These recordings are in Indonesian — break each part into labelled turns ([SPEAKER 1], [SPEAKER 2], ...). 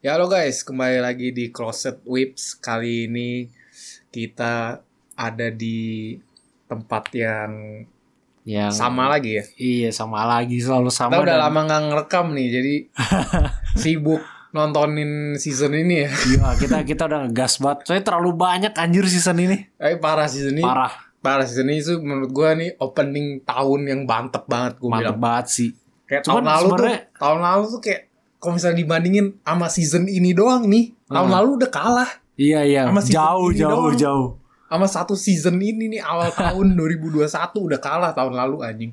[SPEAKER 1] Ya halo guys, kembali lagi di Closet Whips. Kali ini kita ada di tempat yang
[SPEAKER 2] yang
[SPEAKER 1] sama lagi ya.
[SPEAKER 2] iya sama lagi selalu sama
[SPEAKER 1] Kita udah
[SPEAKER 2] dan-
[SPEAKER 1] lama nggak ngerekam nih, jadi sibuk nontonin season ini ya.
[SPEAKER 2] iya kita kita udah ngegas banget soalnya terlalu banyak anjir season ini
[SPEAKER 1] Eh parah season ini. Parah,
[SPEAKER 2] parah
[SPEAKER 1] season ini itu menurut gua nih opening tahun yang bantep banget gua
[SPEAKER 2] mantep
[SPEAKER 1] bilang.
[SPEAKER 2] banget sih
[SPEAKER 1] Kayak
[SPEAKER 2] Cuman
[SPEAKER 1] tahun lalu
[SPEAKER 2] sebenarnya-
[SPEAKER 1] tuh, tahun lalu tuh kayak kalau misalnya dibandingin sama season ini doang nih, tahun
[SPEAKER 2] Hmm.
[SPEAKER 1] lalu udah kalah
[SPEAKER 2] iya iya
[SPEAKER 1] Sama season
[SPEAKER 2] jauh
[SPEAKER 1] ini
[SPEAKER 2] jauh
[SPEAKER 1] doang.
[SPEAKER 2] jauh
[SPEAKER 1] sama satu season ini nih awal tahun 2021 udah kalah tahun lalu anjing.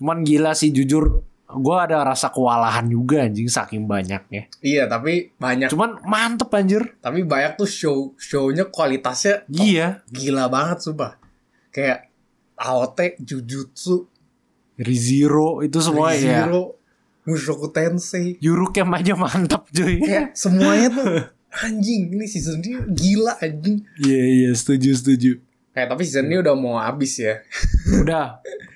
[SPEAKER 2] cuman gila sih jujur gua ada rasa kewalahan juga anjing saking banyaknya
[SPEAKER 1] Iya, tapi banyak
[SPEAKER 2] cuman mantep anjir
[SPEAKER 1] tapi banyak tuh show shownya kualitasnya
[SPEAKER 2] iya
[SPEAKER 1] gila banget sumpah. Kayak AOT, Jujutsu,
[SPEAKER 2] Rizero itu semua ya
[SPEAKER 1] Zero, Mushoku Tensei.
[SPEAKER 2] Juru Camp aja mantap cuy
[SPEAKER 1] Kayak semuanya tuh anjing ini season ini gila anjing.
[SPEAKER 2] iya iya setuju setuju
[SPEAKER 1] Kayak tapi season ini udah mau habis
[SPEAKER 2] Iya,
[SPEAKER 1] ya.
[SPEAKER 2] udah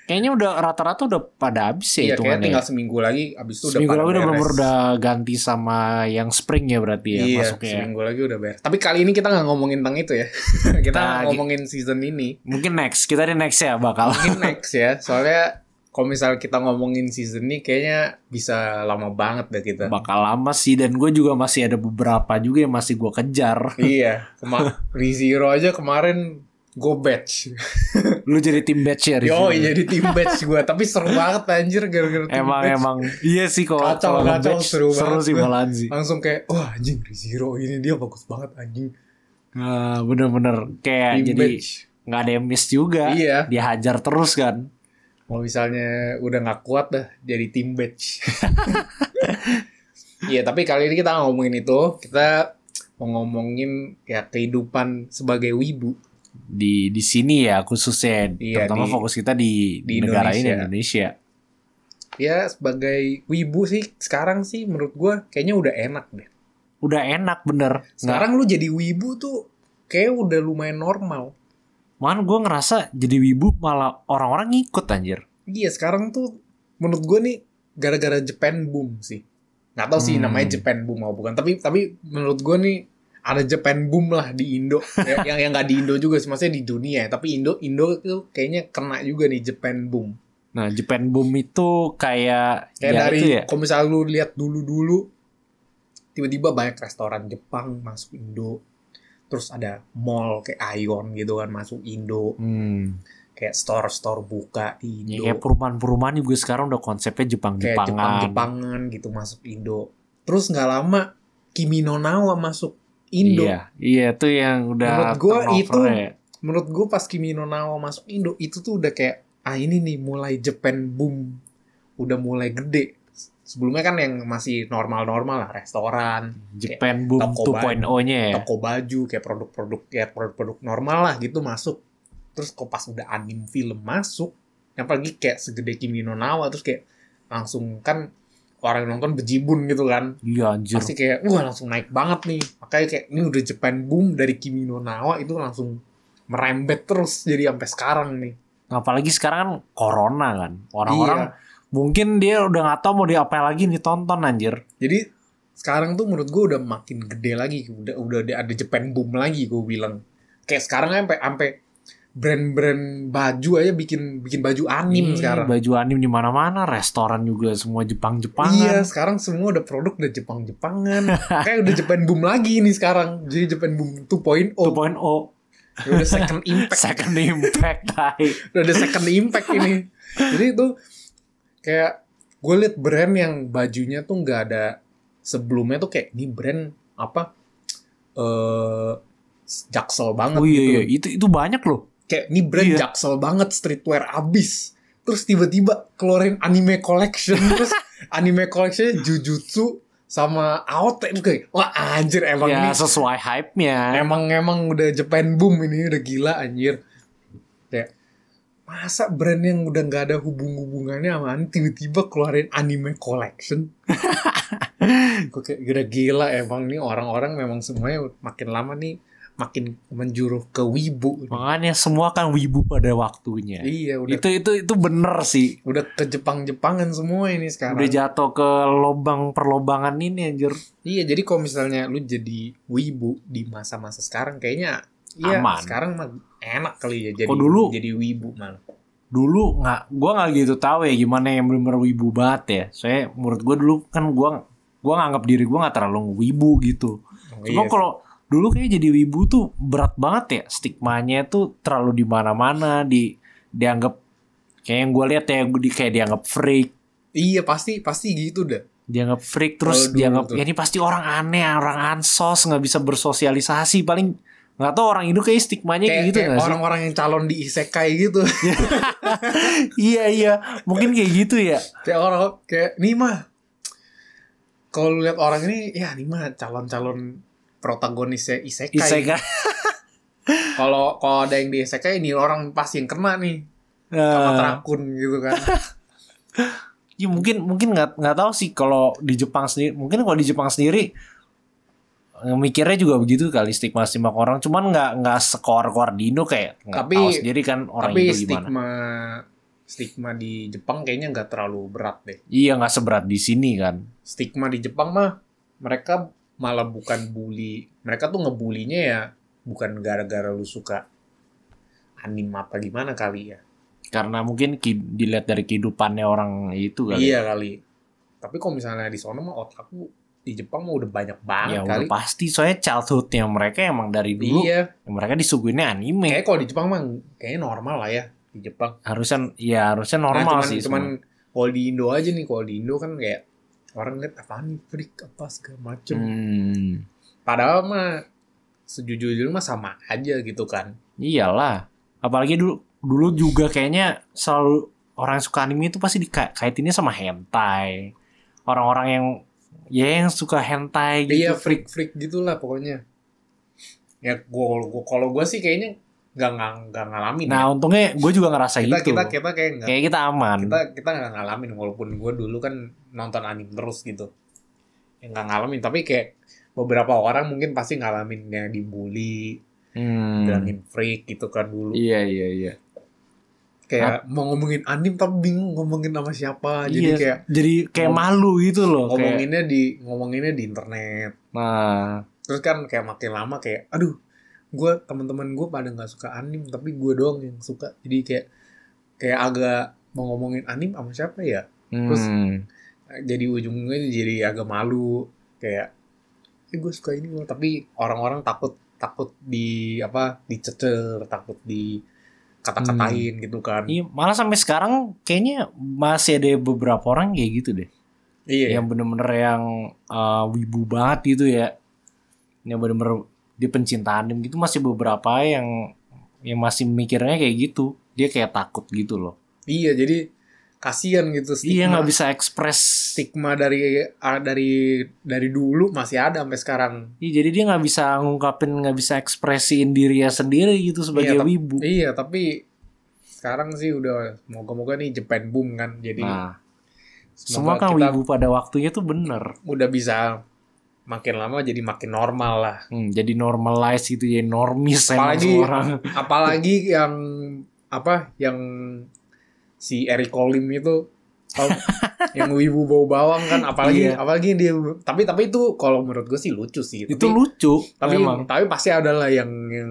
[SPEAKER 2] kayaknya udah rata-rata udah pada habis ya
[SPEAKER 1] Iya, kayak
[SPEAKER 2] hitungannya
[SPEAKER 1] tinggal seminggu lagi abis itu
[SPEAKER 2] seminggu
[SPEAKER 1] udah pada
[SPEAKER 2] lalu udah
[SPEAKER 1] beres.
[SPEAKER 2] bener udah ganti sama yang spring ya berarti ya
[SPEAKER 1] iya,
[SPEAKER 2] masuknya. ya.
[SPEAKER 1] seminggu lagi udah beres. Tapi kali ini kita nggak ngomongin tentang itu ya. kita
[SPEAKER 2] Nah, gi-
[SPEAKER 1] ngomongin season ini.
[SPEAKER 2] Mungkin next, kita di next ya bakal.
[SPEAKER 1] mungkin next ya soalnya kalau misalnya kita ngomongin season ini kayaknya bisa lama banget deh kita
[SPEAKER 2] bakal lama sih dan gue juga masih ada beberapa juga yang masih gue kejar.
[SPEAKER 1] iya kema Rizero aja kemarin go batch
[SPEAKER 2] Lu jadi tim batch ya Rizky?
[SPEAKER 1] yo jadi tim batch gue tapi seru banget anjir gara-gara tim
[SPEAKER 2] Emang
[SPEAKER 1] batch.
[SPEAKER 2] emang iya sih kalau
[SPEAKER 1] Kacau,
[SPEAKER 2] kalau
[SPEAKER 1] kacau,
[SPEAKER 2] nge-batch,
[SPEAKER 1] seru banget
[SPEAKER 2] sih
[SPEAKER 1] gua.
[SPEAKER 2] malahan sih.
[SPEAKER 1] langsung kayak wah anjing Rizero ini dia bagus banget anjing
[SPEAKER 2] Nah, bener-bener kayak
[SPEAKER 1] tim
[SPEAKER 2] jadi
[SPEAKER 1] batch
[SPEAKER 2] nggak ada yang miss juga.
[SPEAKER 1] Iya.
[SPEAKER 2] Dihajar terus kan.
[SPEAKER 1] kalau misalnya udah nggak kuat dah jadi tim batch Iya tapi kali ini kita nggak ngomongin itu kita mau ngomongin ya kehidupan sebagai wibu
[SPEAKER 2] Di di sini ya khususnya
[SPEAKER 1] Iya,
[SPEAKER 2] terutama
[SPEAKER 1] di-
[SPEAKER 2] fokus kita di,
[SPEAKER 1] di
[SPEAKER 2] negara ini
[SPEAKER 1] Indonesia.
[SPEAKER 2] Indonesia.
[SPEAKER 1] ya sebagai wibu sih sekarang sih menurut gua kayaknya udah enak deh.
[SPEAKER 2] Udah enak bener. Nggak-
[SPEAKER 1] Sekarang lu jadi wibu tuh kayak udah lumayan normal.
[SPEAKER 2] Makan gue ngerasa jadi wibu malah orang-orang ngikut anjir.
[SPEAKER 1] Iya sekarang tuh menurut gua nih gara-gara Japan boom sih. Nggak tahu sih
[SPEAKER 2] Hmm.
[SPEAKER 1] namanya Japan boom atau bukan. Tapi tapi menurut gua nih ada Japan boom lah di Indo. Ya, yang yang nggak di Indo juga sih maksudnya di dunia ya. Tapi Indo Indo tuh kayaknya kena juga nih Japan boom.
[SPEAKER 2] Nah, Japan Boom itu kayak
[SPEAKER 1] Kayak
[SPEAKER 2] ya
[SPEAKER 1] dari
[SPEAKER 2] itu ya.
[SPEAKER 1] kalau misalnya lu lihat dulu-dulu tiba-tiba banyak restoran Jepang masuk Indo. Terus ada mall kayak Aeon gitu kan masuk Indo,
[SPEAKER 2] Hmm.
[SPEAKER 1] kayak store-store buka di
[SPEAKER 2] Ya,
[SPEAKER 1] Indo.
[SPEAKER 2] kayak perumahan-perumahan juga sekarang udah konsepnya
[SPEAKER 1] kayak
[SPEAKER 2] Jepang-Jepangan.
[SPEAKER 1] Jepang-Jepangan gitu masuk Indo. Terus nggak lama Kimi no Nawa masuk Indo.
[SPEAKER 2] Iya, iya itu yang udah
[SPEAKER 1] Menurut gua
[SPEAKER 2] turnover
[SPEAKER 1] itu-
[SPEAKER 2] ya.
[SPEAKER 1] Menurut gue pas Kimi no Nawa masuk Indo itu tuh udah kayak ah ini nih mulai Japan boom. Udah mulai gede. Sebelumnya kan yang masih normal-normal lah restoran,
[SPEAKER 2] Japan Boom
[SPEAKER 1] toko
[SPEAKER 2] 2.0-nya ya.
[SPEAKER 1] toko baju kayak produk-produk ya produk-produk normal lah gitu masuk terus kok pas udah anime film masuk yang apalagi kayak segede Kimi no Nawa terus kayak langsung kan orang yang nonton bejibun gitu kan
[SPEAKER 2] Iya anjir.
[SPEAKER 1] pasti kayak wah langsung naik banget nih makanya kayak ini udah Japan boom dari Kimi no Nawa itu langsung merembet terus jadi sampai sekarang nih
[SPEAKER 2] Apalagi sekarang kan corona kan. Orang-orang
[SPEAKER 1] Iya.
[SPEAKER 2] mungkin dia udah nggak tahu mau diapain lagi nih tonton anjir.
[SPEAKER 1] jadi sekarang tuh menurut gue udah makin gede lagi udah udah ada- ada Japan boom lagi gue bilang kayak sekarang sampai sampai brand-brand baju aja bikin bikin baju anim
[SPEAKER 2] Ih,
[SPEAKER 1] sekarang
[SPEAKER 2] Baju anim di mana-mana, restoran juga semua
[SPEAKER 1] Iya,
[SPEAKER 2] Jepang-Jepangan.
[SPEAKER 1] sekarang semua udah produk udah Jepang-Jepangan. Kayak udah Japan boom lagi nih sekarang. Jadi Japan boom 2.0.
[SPEAKER 2] 2.0
[SPEAKER 1] Ya Udah second impact.
[SPEAKER 2] oh, second impact tai.
[SPEAKER 1] udah ada second impact ini. Jadi itu kayak gue liat brand yang bajunya tuh nggak ada sebelumnya tuh kayak ini brand apa eh jaksel banget
[SPEAKER 2] Oh iya,
[SPEAKER 1] gitu.
[SPEAKER 2] iya. itu itu banyak loh.
[SPEAKER 1] Kayak ini brand
[SPEAKER 2] Iya.
[SPEAKER 1] jaksel banget streetwear abis. Terus tiba-tiba keluarin anime collection terus anime collectionnya Jujutsu sama AOT Itu kayak wah anjir emang
[SPEAKER 2] ya
[SPEAKER 1] ini
[SPEAKER 2] sesuai hype-nya.
[SPEAKER 1] Emang emang udah Japan boom ini udah gila anjir. Kayak masa brand yang udah nggak ada hubung-hubungannya sama anime tiba-tiba keluarin anime collection. Gue kayak udah gila emang nih orang-orang memang semuanya makin lama nih makin menjuru ke wibu.
[SPEAKER 2] Makanya semua kan wibu pada waktunya.
[SPEAKER 1] Iya, udah
[SPEAKER 2] Itu itu itu bener sih.
[SPEAKER 1] udah ke Jepang-Jepangan semua ini sekarang.
[SPEAKER 2] Udah jatuh ke lobang perlobangan ini anjir.
[SPEAKER 1] Iya, jadi kalau misalnya lu jadi wibu di masa-masa sekarang kayaknya iya,
[SPEAKER 2] Aman.
[SPEAKER 1] sekarang mah enak kali ya jadi
[SPEAKER 2] Kok dulu?
[SPEAKER 1] jadi wibu malah.
[SPEAKER 2] Dulu nggak gua nggak gitu tahu ya gimana yang bener-bener wibu banget ya. Saya menurut gua dulu kan gua gua nganggap diri gua nggak terlalu wibu gitu.
[SPEAKER 1] Oh, iya.
[SPEAKER 2] Cuma kalau dulu kayak jadi wibu tuh berat banget ya stigmanya tuh terlalu di mana-mana di dianggap kayak yang gue lihat ya di kayak dianggap freak
[SPEAKER 1] Iya, pasti pasti gitu dah.
[SPEAKER 2] dianggap freak terus
[SPEAKER 1] Kalau dulu
[SPEAKER 2] dianggap
[SPEAKER 1] tuh.
[SPEAKER 2] ya ini pasti orang aneh orang ansos nggak bisa bersosialisasi paling nggak tahu orang Indo kayak stigmanya kayak
[SPEAKER 1] Kayak,
[SPEAKER 2] gitu
[SPEAKER 1] kayak
[SPEAKER 2] nggak sih?
[SPEAKER 1] orang-orang yang calon di isekai gitu.
[SPEAKER 2] iya iya mungkin kayak gitu ya
[SPEAKER 1] kayak orang kayak nih mah kalau lu lihat orang ini ya nih mah calon-calon protagonisnya isekai.
[SPEAKER 2] isekai
[SPEAKER 1] Kalau kalau ada yang di isekai ini orang pasti yang kena nih sama
[SPEAKER 2] Eh,
[SPEAKER 1] terakun gitu kan.
[SPEAKER 2] Ya mungkin mungkin nggak nggak tahu sih kalau di Jepang sendiri mungkin kalau di Jepang sendiri eh, mikirnya juga begitu kali stigma stigma orang cuman nggak nggak sekor kor di Indo kayak nggak
[SPEAKER 1] Tapi-
[SPEAKER 2] tahu sendiri kan orang
[SPEAKER 1] Tapi
[SPEAKER 2] Indo gimana
[SPEAKER 1] stigma stigma di Jepang kayaknya nggak terlalu berat deh.
[SPEAKER 2] iya nggak seberat di sini kan
[SPEAKER 1] Stigma di Jepang mah mereka malah bukan bully. Mereka tuh ngebulinya ya bukan gara-gara lu suka anime apa gimana kali ya.
[SPEAKER 2] karena mungkin ki- dilihat dari kehidupannya orang itu kali
[SPEAKER 1] Iya kali. Tapi kalau misalnya di sana mah otakku di Jepang mah udah banyak banget
[SPEAKER 2] ya
[SPEAKER 1] kali.
[SPEAKER 2] udah pasti soalnya childhoodnya mereka emang dari dulu
[SPEAKER 1] Iya.
[SPEAKER 2] mereka disuguhinnya anime
[SPEAKER 1] Kayaknya kalau di Jepang mah kayaknya normal lah ya di Jepang.
[SPEAKER 2] harusnya ya harusnya
[SPEAKER 1] Nah,
[SPEAKER 2] normal
[SPEAKER 1] cuman,
[SPEAKER 2] sih
[SPEAKER 1] cuman
[SPEAKER 2] semua.
[SPEAKER 1] kalau di Indo aja nih kalau di Indo kan kayak orang lihat apaan nih freak apa segala macem.
[SPEAKER 2] Hmm,
[SPEAKER 1] Padahal mah sejujurnya mah sama aja gitu kan.
[SPEAKER 2] Iyalah. Apalagi dulu dulu juga kayaknya selalu orang yang suka anime itu pasti dikaitinnya sama hentai. Orang-orang yang ya yang suka hentai gitu.
[SPEAKER 1] Iya freak freak gitulah pokoknya. Ya gua gua- kalau gua sih kayaknya nggak nggak- nggak ngalamin. ya.
[SPEAKER 2] Nah, untungnya gue juga ngerasa
[SPEAKER 1] kita,
[SPEAKER 2] gitu.
[SPEAKER 1] kita kita kayak nggak
[SPEAKER 2] Kayak kita aman.
[SPEAKER 1] kita kita nggak ngalamin walaupun gue dulu kan nonton anime terus gitu yang nggak ngalamin tapi kayak beberapa orang mungkin pasti ngalamin yang dibully
[SPEAKER 2] Hmm.
[SPEAKER 1] bilangin freak gitu kan dulu
[SPEAKER 2] Iya, iya, iya.
[SPEAKER 1] kayak mau ngomongin anime tapi bingung ngomongin sama siapa jadi
[SPEAKER 2] Iya,
[SPEAKER 1] kayak
[SPEAKER 2] jadi kayak
[SPEAKER 1] ngom-
[SPEAKER 2] malu gitu loh. Kayak,
[SPEAKER 1] ngomonginnya di ngomonginnya di internet
[SPEAKER 2] nah,
[SPEAKER 1] terus kan kayak makin lama kayak aduh gue teman-teman gue pada nggak suka anime tapi gue doang yang suka jadi kayak kayak agak mau ngomongin anime sama siapa ya Terus-
[SPEAKER 2] hmm.
[SPEAKER 1] jadi ujungnya jadi agak malu kayak eh gue suka ini loh tapi orang-orang takut takut di apa dicecer takut di kata-katain gitu kan
[SPEAKER 2] Iya, malah sampai sekarang kayaknya masih ada beberapa orang kayak gitu deh.
[SPEAKER 1] iya
[SPEAKER 2] yang bener-bener yang uh, wibu banget gitu ya yang bener-bener di pencinta anime gitu masih beberapa yang yang masih mikirnya kayak gitu dia kayak takut gitu loh
[SPEAKER 1] iya jadi kasihan gitu
[SPEAKER 2] iya
[SPEAKER 1] stigma
[SPEAKER 2] nggak bisa ekspres
[SPEAKER 1] stigma dari ah, dari dari dulu masih ada sampai sekarang
[SPEAKER 2] Iya, jadi dia nggak bisa ngungkapin nggak bisa ekspresiin dirinya sendiri gitu sebagai
[SPEAKER 1] Iya, tapi-
[SPEAKER 2] wibu
[SPEAKER 1] iya tapi sekarang sih udah moga-moga nih Japan boom kan jadi
[SPEAKER 2] nah semua
[SPEAKER 1] semoga
[SPEAKER 2] kan
[SPEAKER 1] kita
[SPEAKER 2] wibu pada waktunya tuh bener
[SPEAKER 1] udah bisa makin lama jadi makin normal lah
[SPEAKER 2] Hmm, jadi normalize gitu ya normis emang
[SPEAKER 1] Apalagi-
[SPEAKER 2] semua orang
[SPEAKER 1] apalagi yang apa yang si Eric Colim itu tau- yang wibu bau bawang kan apalagi
[SPEAKER 2] Iya.
[SPEAKER 1] apalagi dia tapi tapi itu kalau menurut gue sih lucu sih
[SPEAKER 2] itu
[SPEAKER 1] tapi,
[SPEAKER 2] lucu
[SPEAKER 1] tapi
[SPEAKER 2] memang
[SPEAKER 1] tapi pasti ada lah yang yang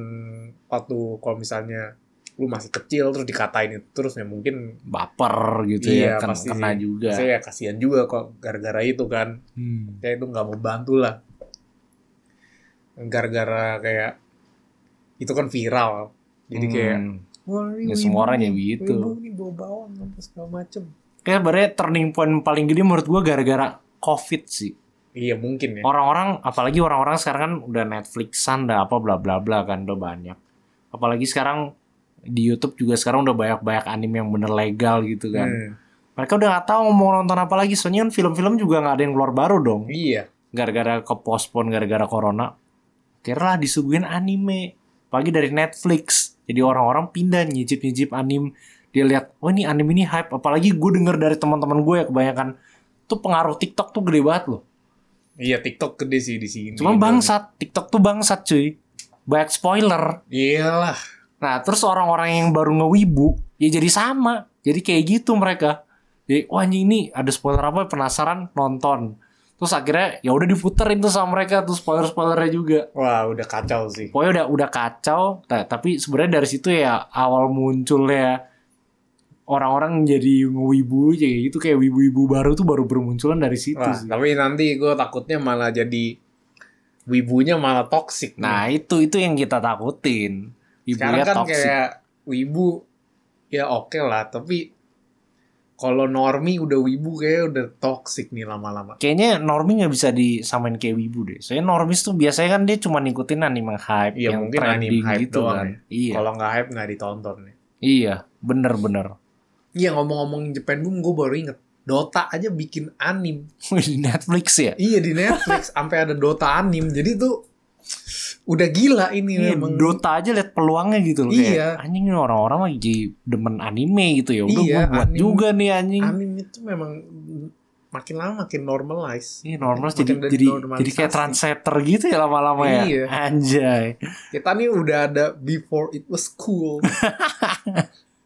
[SPEAKER 1] waktu kalau misalnya lu masih kecil terus dikatain itu terus ya mungkin
[SPEAKER 2] baper gitu
[SPEAKER 1] Iya,
[SPEAKER 2] ya kan
[SPEAKER 1] pasti
[SPEAKER 2] kena
[SPEAKER 1] sih.
[SPEAKER 2] juga
[SPEAKER 1] saya kasihan juga kok gara-gara itu kan
[SPEAKER 2] Hmm.
[SPEAKER 1] kayak itu nggak mau bantu lah gara-gara kayak itu kan viral jadi kayak
[SPEAKER 2] Hmm.
[SPEAKER 1] Wah, ini
[SPEAKER 2] Ya,
[SPEAKER 1] wibu
[SPEAKER 2] semua orang
[SPEAKER 1] nih.
[SPEAKER 2] ya begitu.
[SPEAKER 1] Wibu nih bawa bawang apa segala macem.
[SPEAKER 2] Kayak sebenarnya turning point paling gede menurut gua gara-gara COVID sih.
[SPEAKER 1] Iya mungkin ya.
[SPEAKER 2] Orang-orang, apalagi orang-orang sekarang kan udah Netflixan, dah apa bla bla bla kan udah banyak. Apalagi sekarang di YouTube juga sekarang udah banyak-banyak anime yang bener legal gitu kan.
[SPEAKER 1] Hmm,
[SPEAKER 2] Mereka udah nggak tahu mau nonton apa lagi. Soalnya kan film-film juga nggak ada yang keluar baru dong.
[SPEAKER 1] Iya.
[SPEAKER 2] Gara-gara ke postpone, gara-gara corona. Kira disuguhin anime. Pagi dari Netflix. Jadi orang-orang pindah nyicip-nyicip anime. Dia lihat, oh ini anime ini hype. Apalagi gue denger dari teman-teman gue ya kebanyakan. Tuh pengaruh TikTok tuh gede banget loh.
[SPEAKER 1] Iya TikTok gede sih di sini.
[SPEAKER 2] Cuma bangsat, TikTok tuh bangsat cuy. banyak spoiler.
[SPEAKER 1] Iyalah.
[SPEAKER 2] Nah, terus orang-orang yang baru ngewibu, ya jadi sama. Jadi kayak gitu mereka. Jadi, wah anjing ini ada spoiler apa penasaran nonton. Terus akhirnya ya udah diputerin tuh sama mereka tuh spoiler-spoilernya juga.
[SPEAKER 1] Wah, udah kacau sih.
[SPEAKER 2] Pokoknya udah udah kacau, Nah, tapi sebenarnya dari situ ya awal munculnya orang-orang jadi ngewibu kayak gitu kayak wibu-wibu baru tuh baru bermunculan dari situ
[SPEAKER 1] Wah,
[SPEAKER 2] sih.
[SPEAKER 1] tapi nanti gue takutnya malah jadi wibunya malah toksik.
[SPEAKER 2] Nah, itu itu yang kita takutin.
[SPEAKER 1] sekarang
[SPEAKER 2] Ibunya
[SPEAKER 1] kan
[SPEAKER 2] ya toxic.
[SPEAKER 1] kayak wibu ya oke lah, tapi kalau normi udah wibu kayak udah toksik nih lama-lama.
[SPEAKER 2] kayaknya Normi nggak bisa disamain kayak Wibu deh. Soalnya Normis tuh biasanya kan dia cuma ngikutin anime hype
[SPEAKER 1] Iya,
[SPEAKER 2] yang
[SPEAKER 1] mungkin anime
[SPEAKER 2] trending
[SPEAKER 1] hype
[SPEAKER 2] gitu
[SPEAKER 1] doang
[SPEAKER 2] kan.
[SPEAKER 1] ya.
[SPEAKER 2] Iya,
[SPEAKER 1] Kalau nggak hype nggak ditonton nih.
[SPEAKER 2] iya, bener-bener.
[SPEAKER 1] Iya ngomong-ngomong Japan Boom gue baru inget Dota aja bikin anim.
[SPEAKER 2] Di Netflix ya.
[SPEAKER 1] Iya di Netflix sampai ada Dota anim. Jadi tuh udah gila ini
[SPEAKER 2] Iya,
[SPEAKER 1] memang.
[SPEAKER 2] Dota aja liat peluangnya gitu loh
[SPEAKER 1] Iya.
[SPEAKER 2] kayak anjing nih orang-orang lagi demen anime gitu ya. Udah
[SPEAKER 1] Iya,
[SPEAKER 2] gua buat
[SPEAKER 1] anime.
[SPEAKER 2] juga nih anjing.
[SPEAKER 1] Anim itu memang makin lama makin normalize.
[SPEAKER 2] Ini normal
[SPEAKER 1] Makin
[SPEAKER 2] jadi
[SPEAKER 1] dari
[SPEAKER 2] jadi
[SPEAKER 1] normalisasi.
[SPEAKER 2] jadi kayak translator gitu ya lama-lama ya.
[SPEAKER 1] Iya.
[SPEAKER 2] Anjay.
[SPEAKER 1] kita nih udah ada before it was cool.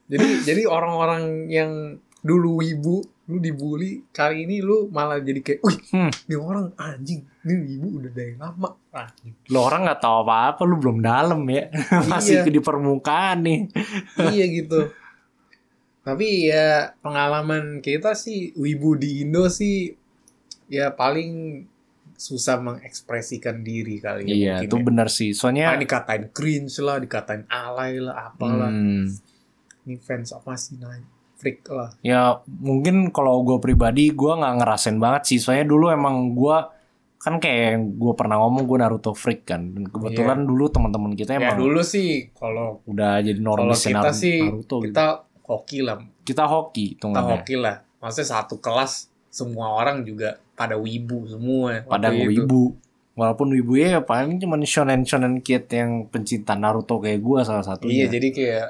[SPEAKER 1] jadi jadi orang-orang yang dulu wibu lu dibully kali ini lu malah jadi kayak wih
[SPEAKER 2] Hmm.
[SPEAKER 1] ini orang anjing ini wibu udah dari lama anjing.
[SPEAKER 2] Lo orang nggak tahu apa-apa lu belum dalam ya. Masih
[SPEAKER 1] Iya.
[SPEAKER 2] ke di permukaan nih.
[SPEAKER 1] iya gitu tapi ya pengalaman kita sih wibu di Indo sih ya paling susah mengekspresikan diri kali ya
[SPEAKER 2] Iya,
[SPEAKER 1] mungkin
[SPEAKER 2] itu
[SPEAKER 1] ya.
[SPEAKER 2] benar sih. Soalnya
[SPEAKER 1] Ah, dikatain cringe lah dikatain alay lah apalah
[SPEAKER 2] Hmm.
[SPEAKER 1] ini fans apa sih nah freak lah
[SPEAKER 2] Ya mungkin kalau gue pribadi gue nggak ngerasain banget sih. Soalnya dulu emang gue kan kayak yang gue pernah ngomong gue Naruto freak kan. Dan kebetulan dulu teman-teman kita
[SPEAKER 1] Ya
[SPEAKER 2] emang
[SPEAKER 1] dulu sih kalau
[SPEAKER 2] udah jadi
[SPEAKER 1] kalau
[SPEAKER 2] normal
[SPEAKER 1] kita sih
[SPEAKER 2] Naruto. Kita, gitu.
[SPEAKER 1] kita hoki lah,
[SPEAKER 2] kita hoki
[SPEAKER 1] kita
[SPEAKER 2] hitungannya.
[SPEAKER 1] hoki lah. Maksudnya satu kelas semua orang juga pada wibu semua.
[SPEAKER 2] Pada
[SPEAKER 1] waktu itu.
[SPEAKER 2] wibu. Walaupun wibu ya paling cuman shonen shonen kid yang pencinta Naruto kayak gue salah
[SPEAKER 1] Iya,
[SPEAKER 2] satunya.
[SPEAKER 1] jadi kayak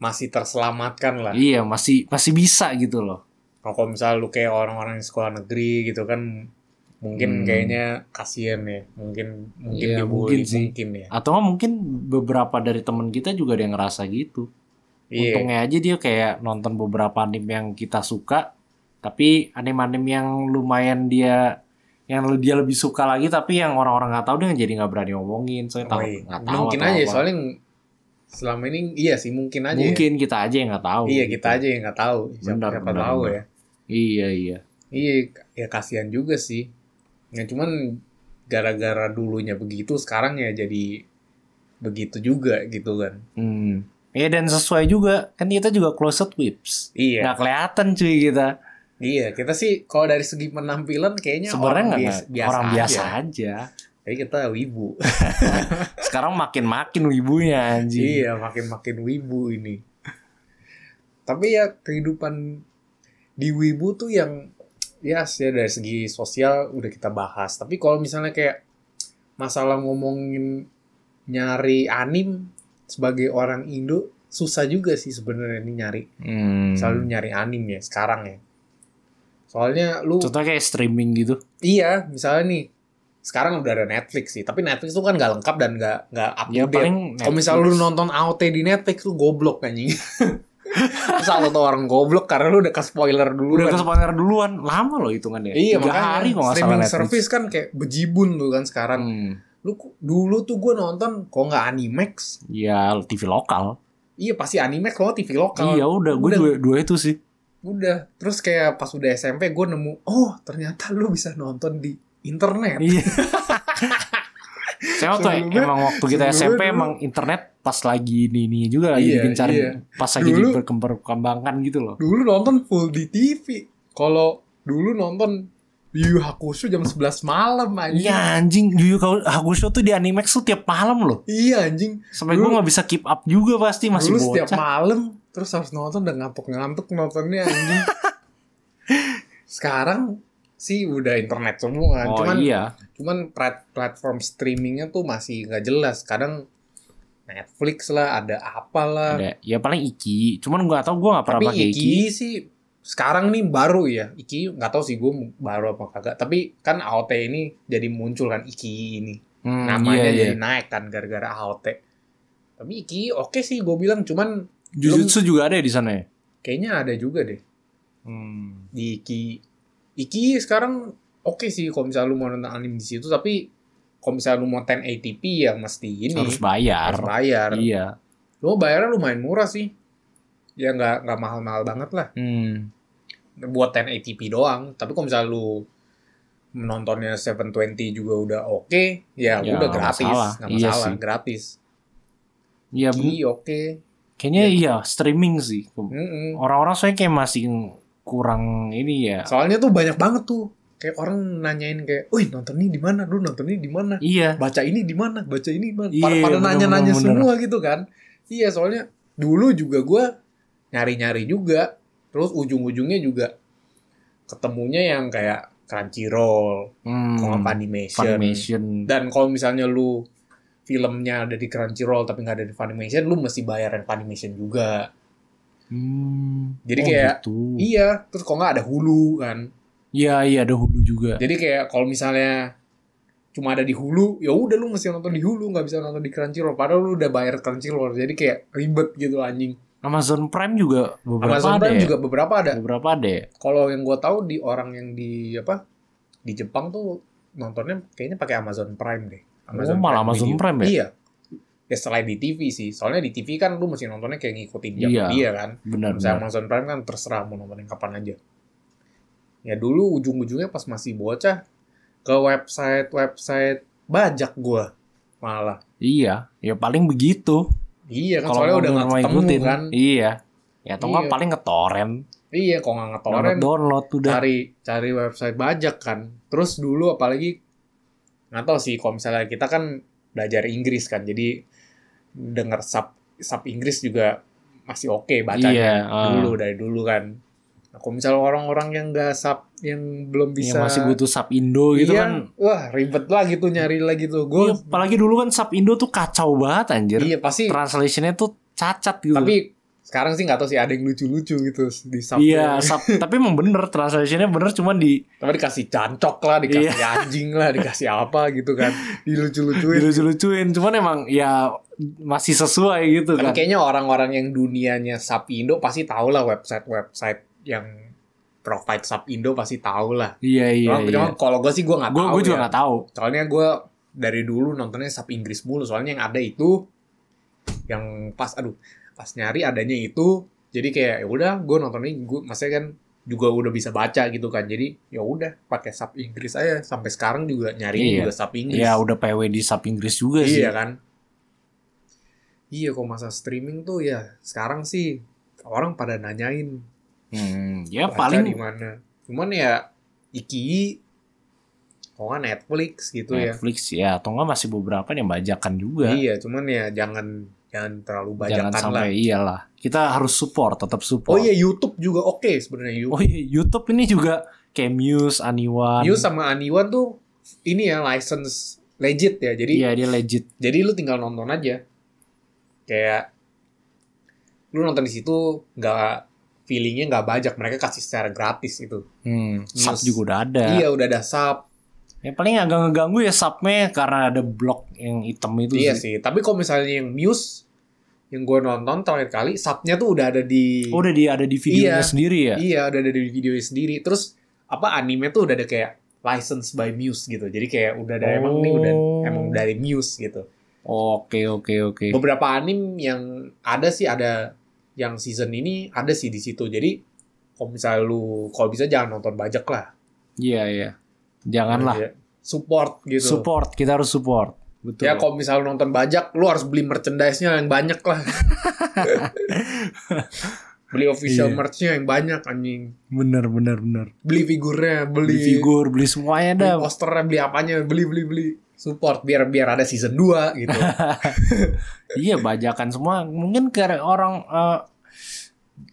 [SPEAKER 1] masih terselamatkan lah.
[SPEAKER 2] Iya, masih masih bisa gitu loh.
[SPEAKER 1] Kalau misalnya lu kayak orang-orang yang sekolah negeri gitu kan mungkin
[SPEAKER 2] Hmm.
[SPEAKER 1] kayaknya kasihan ya, mungkin mungkin
[SPEAKER 2] Iya,
[SPEAKER 1] dibully
[SPEAKER 2] mungkin sih.
[SPEAKER 1] mungkin ya.
[SPEAKER 2] Atau nggak mungkin beberapa dari temen kita juga ada yang ngerasa gitu.
[SPEAKER 1] Iya.
[SPEAKER 2] Untungnya aja dia kayak nonton beberapa anime yang kita suka, tapi anime-anime yang lumayan dia yang le- dia lebih suka lagi tapi yang orang-orang nggak tahu dia jadi nggak berani ngomongin soalnya
[SPEAKER 1] Oh,
[SPEAKER 2] tahu
[SPEAKER 1] iya.
[SPEAKER 2] nggak tahu
[SPEAKER 1] Mungkin
[SPEAKER 2] atau
[SPEAKER 1] aja
[SPEAKER 2] apa.
[SPEAKER 1] soalnya selama ini iya sih mungkin aja. ya.
[SPEAKER 2] mungkin kita aja yang nggak tahu gitu.
[SPEAKER 1] Iya, kita aja yang nggak tahu. Siapa,
[SPEAKER 2] Benar,
[SPEAKER 1] siapa
[SPEAKER 2] benar,
[SPEAKER 1] tahu
[SPEAKER 2] benar.
[SPEAKER 1] ya.
[SPEAKER 2] iya iya
[SPEAKER 1] Iya, ya kasihan juga sih. Ya cuman gara-gara dulunya begitu, sekarang ya jadi begitu juga gitu kan.
[SPEAKER 2] hmm. ya dan sesuai juga kan kita juga closet whips
[SPEAKER 1] Iya,
[SPEAKER 2] nggak kelihatan cuy kita
[SPEAKER 1] iya. Kita sih kalau dari segi penampilan kayaknya Ya,
[SPEAKER 2] sebenarnya
[SPEAKER 1] orang
[SPEAKER 2] nggak
[SPEAKER 1] biasa, biasa
[SPEAKER 2] orang biasa
[SPEAKER 1] aja.
[SPEAKER 2] aja,
[SPEAKER 1] Tapi kita wibu.
[SPEAKER 2] sekarang makin makin wibunya anjing
[SPEAKER 1] iya, makin-makin wibu ini. Tapi ya kehidupan di wibu tuh yang ya sih dari segi sosial udah kita bahas. Tapi kalau misalnya kayak masalah ngomongin nyari anim sebagai orang Indo susah juga sih sebenarnya ini nyari.
[SPEAKER 2] Hmm.
[SPEAKER 1] Selalu nyari anim ya sekarang ya. Soalnya lu
[SPEAKER 2] contohnya kayak streaming gitu
[SPEAKER 1] iya, misalnya nih sekarang udah ada Netflix sih, tapi Netflix tuh kan nggak lengkap dan nggak nggak up
[SPEAKER 2] ya
[SPEAKER 1] to date.
[SPEAKER 2] paling
[SPEAKER 1] Kalau misalnya lu
[SPEAKER 2] Netflix.
[SPEAKER 1] nonton AOT di Netflix lu goblok anjing. Salah tuh orang goblok karena lu udah ke spoiler dulu.
[SPEAKER 2] Udah ke spoiler duluan, lama loh hitungannya.
[SPEAKER 1] Iya
[SPEAKER 2] Tiga
[SPEAKER 1] makanya
[SPEAKER 2] hari kok nggak salah
[SPEAKER 1] streaming
[SPEAKER 2] Netflix.
[SPEAKER 1] service kan kayak bejibun tuh kan sekarang.
[SPEAKER 2] Hmm.
[SPEAKER 1] Lu ku- dulu tuh gue nonton kok nggak Animax,
[SPEAKER 2] Ya TV lokal.
[SPEAKER 1] iya pasti Animax kalau TV lokal.
[SPEAKER 2] iya udah, gue
[SPEAKER 1] udah.
[SPEAKER 2] dua, dua itu sih.
[SPEAKER 1] Udah. Terus kayak pas udah SMP gue nemu, oh ternyata lu bisa nonton di internet.
[SPEAKER 2] Iya. Saya waktu
[SPEAKER 1] Sebelumnya-
[SPEAKER 2] emang waktu kita
[SPEAKER 1] sebelumnya
[SPEAKER 2] SMP
[SPEAKER 1] dulu-
[SPEAKER 2] emang internet pas lagi ini ini juga lagi
[SPEAKER 1] Iya,
[SPEAKER 2] bikin cari
[SPEAKER 1] iya.
[SPEAKER 2] pas lagi
[SPEAKER 1] Dulu-
[SPEAKER 2] diperkembangkan gitu loh.
[SPEAKER 1] Dulu nonton full di TV. Kalau dulu nonton Yu Yu Hakusho jam 11 malam anjing.
[SPEAKER 2] Iya anjing Yu Yu Hakusho tuh di Animax tuh tiap malam loh.
[SPEAKER 1] Iya anjing.
[SPEAKER 2] Sampai gue
[SPEAKER 1] Dulu-
[SPEAKER 2] nggak bisa keep up juga pasti
[SPEAKER 1] dulu
[SPEAKER 2] masih bocah.
[SPEAKER 1] setiap malam terus harus nonton udah ngantuk-ngantuk nontonnya anjing. Sekarang sih udah internet semua,
[SPEAKER 2] oh
[SPEAKER 1] cuman
[SPEAKER 2] iya.
[SPEAKER 1] cuman plat- platform streamingnya tuh masih nggak jelas. Kadang Netflix lah, ada apalah.
[SPEAKER 2] Ada. Ya paling Iki. Cuman gue gak tau gue gak pernah
[SPEAKER 1] Eh. Tapi
[SPEAKER 2] pakai
[SPEAKER 1] Iki,
[SPEAKER 2] Iki.
[SPEAKER 1] sih sekarang nih baru ya. Iki nggak tahu sih gue baru apa kagak. Tapi kan AOT ini jadi muncul kan Iki ini.
[SPEAKER 2] Hmm,
[SPEAKER 1] namanya
[SPEAKER 2] iya,
[SPEAKER 1] jadi
[SPEAKER 2] iya.
[SPEAKER 1] naik kan gara-gara AOT tapi Iki oke sih gue bilang cuman
[SPEAKER 2] Jujutsu juga ada ya di sana ya?
[SPEAKER 1] kayaknya ada juga deh
[SPEAKER 2] Hmm.
[SPEAKER 1] di Iki Iki sekarang oke sih kalau misalnya lu mau nonton anime di situ tapi kalau misalnya lu mau 1080p ya mesti ini
[SPEAKER 2] Harus bayar.
[SPEAKER 1] harus bayar
[SPEAKER 2] Iya.
[SPEAKER 1] lu bayarnya lumayan murah sih ya nggak nggak mahal-mahal banget lah
[SPEAKER 2] Hmm.
[SPEAKER 1] buat 1080p doang tapi kalau misalnya lu menontonnya 720 juga udah oke ya,
[SPEAKER 2] Ya,
[SPEAKER 1] udah
[SPEAKER 2] nggak
[SPEAKER 1] gratis
[SPEAKER 2] masalah.
[SPEAKER 1] nggak
[SPEAKER 2] Iya
[SPEAKER 1] masalah
[SPEAKER 2] sih.
[SPEAKER 1] gratis
[SPEAKER 2] Iya,
[SPEAKER 1] Iki
[SPEAKER 2] ben-
[SPEAKER 1] oke
[SPEAKER 2] kayaknya iya streaming sih.
[SPEAKER 1] Mm-mm.
[SPEAKER 2] Orang-orang soalnya kayak masih kurang ini ya.
[SPEAKER 1] soalnya tuh banyak banget tuh kayak orang nanyain kayak, "Wih, nonton ini di mana? Lu nonton ini di mana?"
[SPEAKER 2] Iya.
[SPEAKER 1] baca ini di mana baca ini di mana
[SPEAKER 2] Iya,
[SPEAKER 1] pada, pada
[SPEAKER 2] bener,
[SPEAKER 1] nanya-nanya
[SPEAKER 2] bener,
[SPEAKER 1] semua gitu kan iya soalnya dulu juga gua nyari-nyari juga terus ujung-ujungnya juga ketemunya yang kayak Crunchyroll
[SPEAKER 2] Hmm.
[SPEAKER 1] kalau nggak Funimation.
[SPEAKER 2] Funimation.
[SPEAKER 1] dan kalau misalnya lu filmnya ada di Crunchyroll tapi nggak ada di Funimation lu mesti bayaran Funimation juga
[SPEAKER 2] Hmm.
[SPEAKER 1] Jadi
[SPEAKER 2] Oh,
[SPEAKER 1] kayak-
[SPEAKER 2] gitu.
[SPEAKER 1] iya terus kalau nggak ada Hulu kan
[SPEAKER 2] Iya, iya ada Hulu juga.
[SPEAKER 1] jadi kayak kalau misalnya cuma ada di Hulu ya udah lu mesti nonton di Hulu nggak bisa nonton di Crunchyroll padahal lu udah bayar Crunchyroll jadi kayak ribet gitu anjing
[SPEAKER 2] Amazon Prime juga beberapa
[SPEAKER 1] Amazon
[SPEAKER 2] ada
[SPEAKER 1] Prime
[SPEAKER 2] ya?
[SPEAKER 1] juga beberapa ada
[SPEAKER 2] Beberapa ada ya?
[SPEAKER 1] kalau yang gue tahu di orang yang di apa di Jepang tuh nontonnya kayaknya pakai Amazon Prime deh
[SPEAKER 2] Oh, malah Amazon
[SPEAKER 1] Video.
[SPEAKER 2] Prime ya?
[SPEAKER 1] iya ya selain di TV sih soalnya di TV kan lu mesti nontonnya kayak ngikutin jam
[SPEAKER 2] Iya.
[SPEAKER 1] dia kan
[SPEAKER 2] Benar,
[SPEAKER 1] misalnya
[SPEAKER 2] benar.
[SPEAKER 1] Amazon Prime kan terserah mau nontonin kapan aja ya dulu ujung-ujungnya pas masih bocah ke website website bajak gua malah
[SPEAKER 2] Iya, ya paling begitu.
[SPEAKER 1] iya kan
[SPEAKER 2] Kalau
[SPEAKER 1] soalnya
[SPEAKER 2] mau
[SPEAKER 1] udah nggak
[SPEAKER 2] mau
[SPEAKER 1] ketemu
[SPEAKER 2] ikutin.
[SPEAKER 1] kan
[SPEAKER 2] Iya. Ya atau nggak
[SPEAKER 1] Iya.
[SPEAKER 2] paling ngetoren,
[SPEAKER 1] iya kok nggak ngetoren
[SPEAKER 2] download, download udah.
[SPEAKER 1] cari cari website bajak kan terus dulu apalagi nggak tahu sih kalau misalnya kita kan belajar Inggris kan jadi denger sub sub Inggris juga masih oke
[SPEAKER 2] Iya,
[SPEAKER 1] bacanya
[SPEAKER 2] ah.
[SPEAKER 1] dulu dari dulu kan nah, kalau misalnya orang-orang yang nggak sub yang belum
[SPEAKER 2] Iya,
[SPEAKER 1] bisa
[SPEAKER 2] masih butuh sub Indo gitu
[SPEAKER 1] iya,
[SPEAKER 2] kan.
[SPEAKER 1] wah ribet lah gitu nyari lagi tuh gue
[SPEAKER 2] Iya, apalagi dulu kan sub Indo tuh kacau banget anjir.
[SPEAKER 1] iya pasti
[SPEAKER 2] Translationnya tuh cacat gitu.
[SPEAKER 1] tapi sekarang sih nggak tahu sih ada yang lucu-lucu gitu di sub
[SPEAKER 2] iya, sub, tapi emang bener translationnya bener cuman di
[SPEAKER 1] tapi dikasih cancok lah dikasih anjing lah dikasih apa gitu kan dilucu-lucuin
[SPEAKER 2] Iya. dilucu-lucuin cuman emang ya masih sesuai gitu
[SPEAKER 1] Tapi
[SPEAKER 2] kan.
[SPEAKER 1] kayaknya orang-orang yang dunianya Sapindo pasti tahu lah website-website yang provide Sapindo pasti tahu lah.
[SPEAKER 2] Iya, iya,
[SPEAKER 1] Cuma- cuma
[SPEAKER 2] iya.
[SPEAKER 1] kalau gue sih gue nggak
[SPEAKER 2] Gue
[SPEAKER 1] tahu
[SPEAKER 2] gue juga
[SPEAKER 1] ya.
[SPEAKER 2] nggak tahu.
[SPEAKER 1] Soalnya gue dari dulu nontonnya sub Inggris mulu. Soalnya yang ada itu yang pas aduh pas nyari adanya itu jadi kayak ya udah gue nontonnya gue maksudnya kan juga udah bisa baca gitu kan jadi ya udah pakai sub Inggris aja sampai sekarang juga nyari
[SPEAKER 2] Iya.
[SPEAKER 1] juga sub Inggris
[SPEAKER 2] Ya udah PW di sub Inggris juga sih.
[SPEAKER 1] Iya kan? Iya kok masa streaming tuh ya sekarang sih orang pada nanyain
[SPEAKER 2] Hmm, ya
[SPEAKER 1] baca
[SPEAKER 2] paling
[SPEAKER 1] di mana. Cuman ya Iki kok nggak Netflix gitu
[SPEAKER 2] Netflix ya. atau enggak masih beberapa yang bajakan
[SPEAKER 1] ya.
[SPEAKER 2] juga.
[SPEAKER 1] Iya, cuman ya jangan jangan terlalu
[SPEAKER 2] Jangan
[SPEAKER 1] bajakan lah.
[SPEAKER 2] sampai iyalah. Kita harus support,
[SPEAKER 1] Oh
[SPEAKER 2] tetap support.
[SPEAKER 1] iya YouTube juga oke sebenarnya YouTube.
[SPEAKER 2] Oh iya, YouTube ini juga kayak Muse, Aniwan.
[SPEAKER 1] Muse sama Aniwan tuh ini ya license legit ya. Jadi
[SPEAKER 2] Iya, dia legit.
[SPEAKER 1] jadi lu tinggal nonton aja. Kayak lu nonton di situ nggak feelingnya nggak bajak mereka kasih secara gratis itu
[SPEAKER 2] Hmm, sub
[SPEAKER 1] Muse.
[SPEAKER 2] juga udah ada.
[SPEAKER 1] Iya udah ada sub.
[SPEAKER 2] Yang paling agak ngeganggu ya subnya karena ada blok yang hitam itu
[SPEAKER 1] Iya
[SPEAKER 2] sih.
[SPEAKER 1] sih. Tapi kalau misalnya yang Muse yang gue nonton terakhir kali subnya tuh udah ada di
[SPEAKER 2] Oh, udah dia ada di videonya
[SPEAKER 1] Iya.
[SPEAKER 2] sendiri ya?
[SPEAKER 1] iya udah ada di video sendiri. Terus apa anime tuh udah ada kayak license by Muse gitu. Jadi kayak udah ada emang nih udah
[SPEAKER 2] Oh.
[SPEAKER 1] emang dari Muse gitu.
[SPEAKER 2] Oke, oke, oke.
[SPEAKER 1] Beberapa anime yang ada sih ada yang season ini ada sih di situ. Jadi kalau misalnya lu kalau bisa jangan nonton bajak lah.
[SPEAKER 2] Iya, iya. Janganlah
[SPEAKER 1] Support Iya, gitu.
[SPEAKER 2] support, kita harus support. Betul.
[SPEAKER 1] Ya kalau misalnya lu nonton bajak, lu harus beli merchandise-nya yang banyak lah. beli official
[SPEAKER 2] Iya.
[SPEAKER 1] merch-nya yang banyak anjing.
[SPEAKER 2] bener, bener, bener.
[SPEAKER 1] Beli figurnya, beli,
[SPEAKER 2] Beli figur, beli semuanya
[SPEAKER 1] beli
[SPEAKER 2] dah.
[SPEAKER 1] posternya, beli apanya, beli beli beli support biar biar ada season 2 gitu.
[SPEAKER 2] Iya bajakan semua mungkin karena orang eh,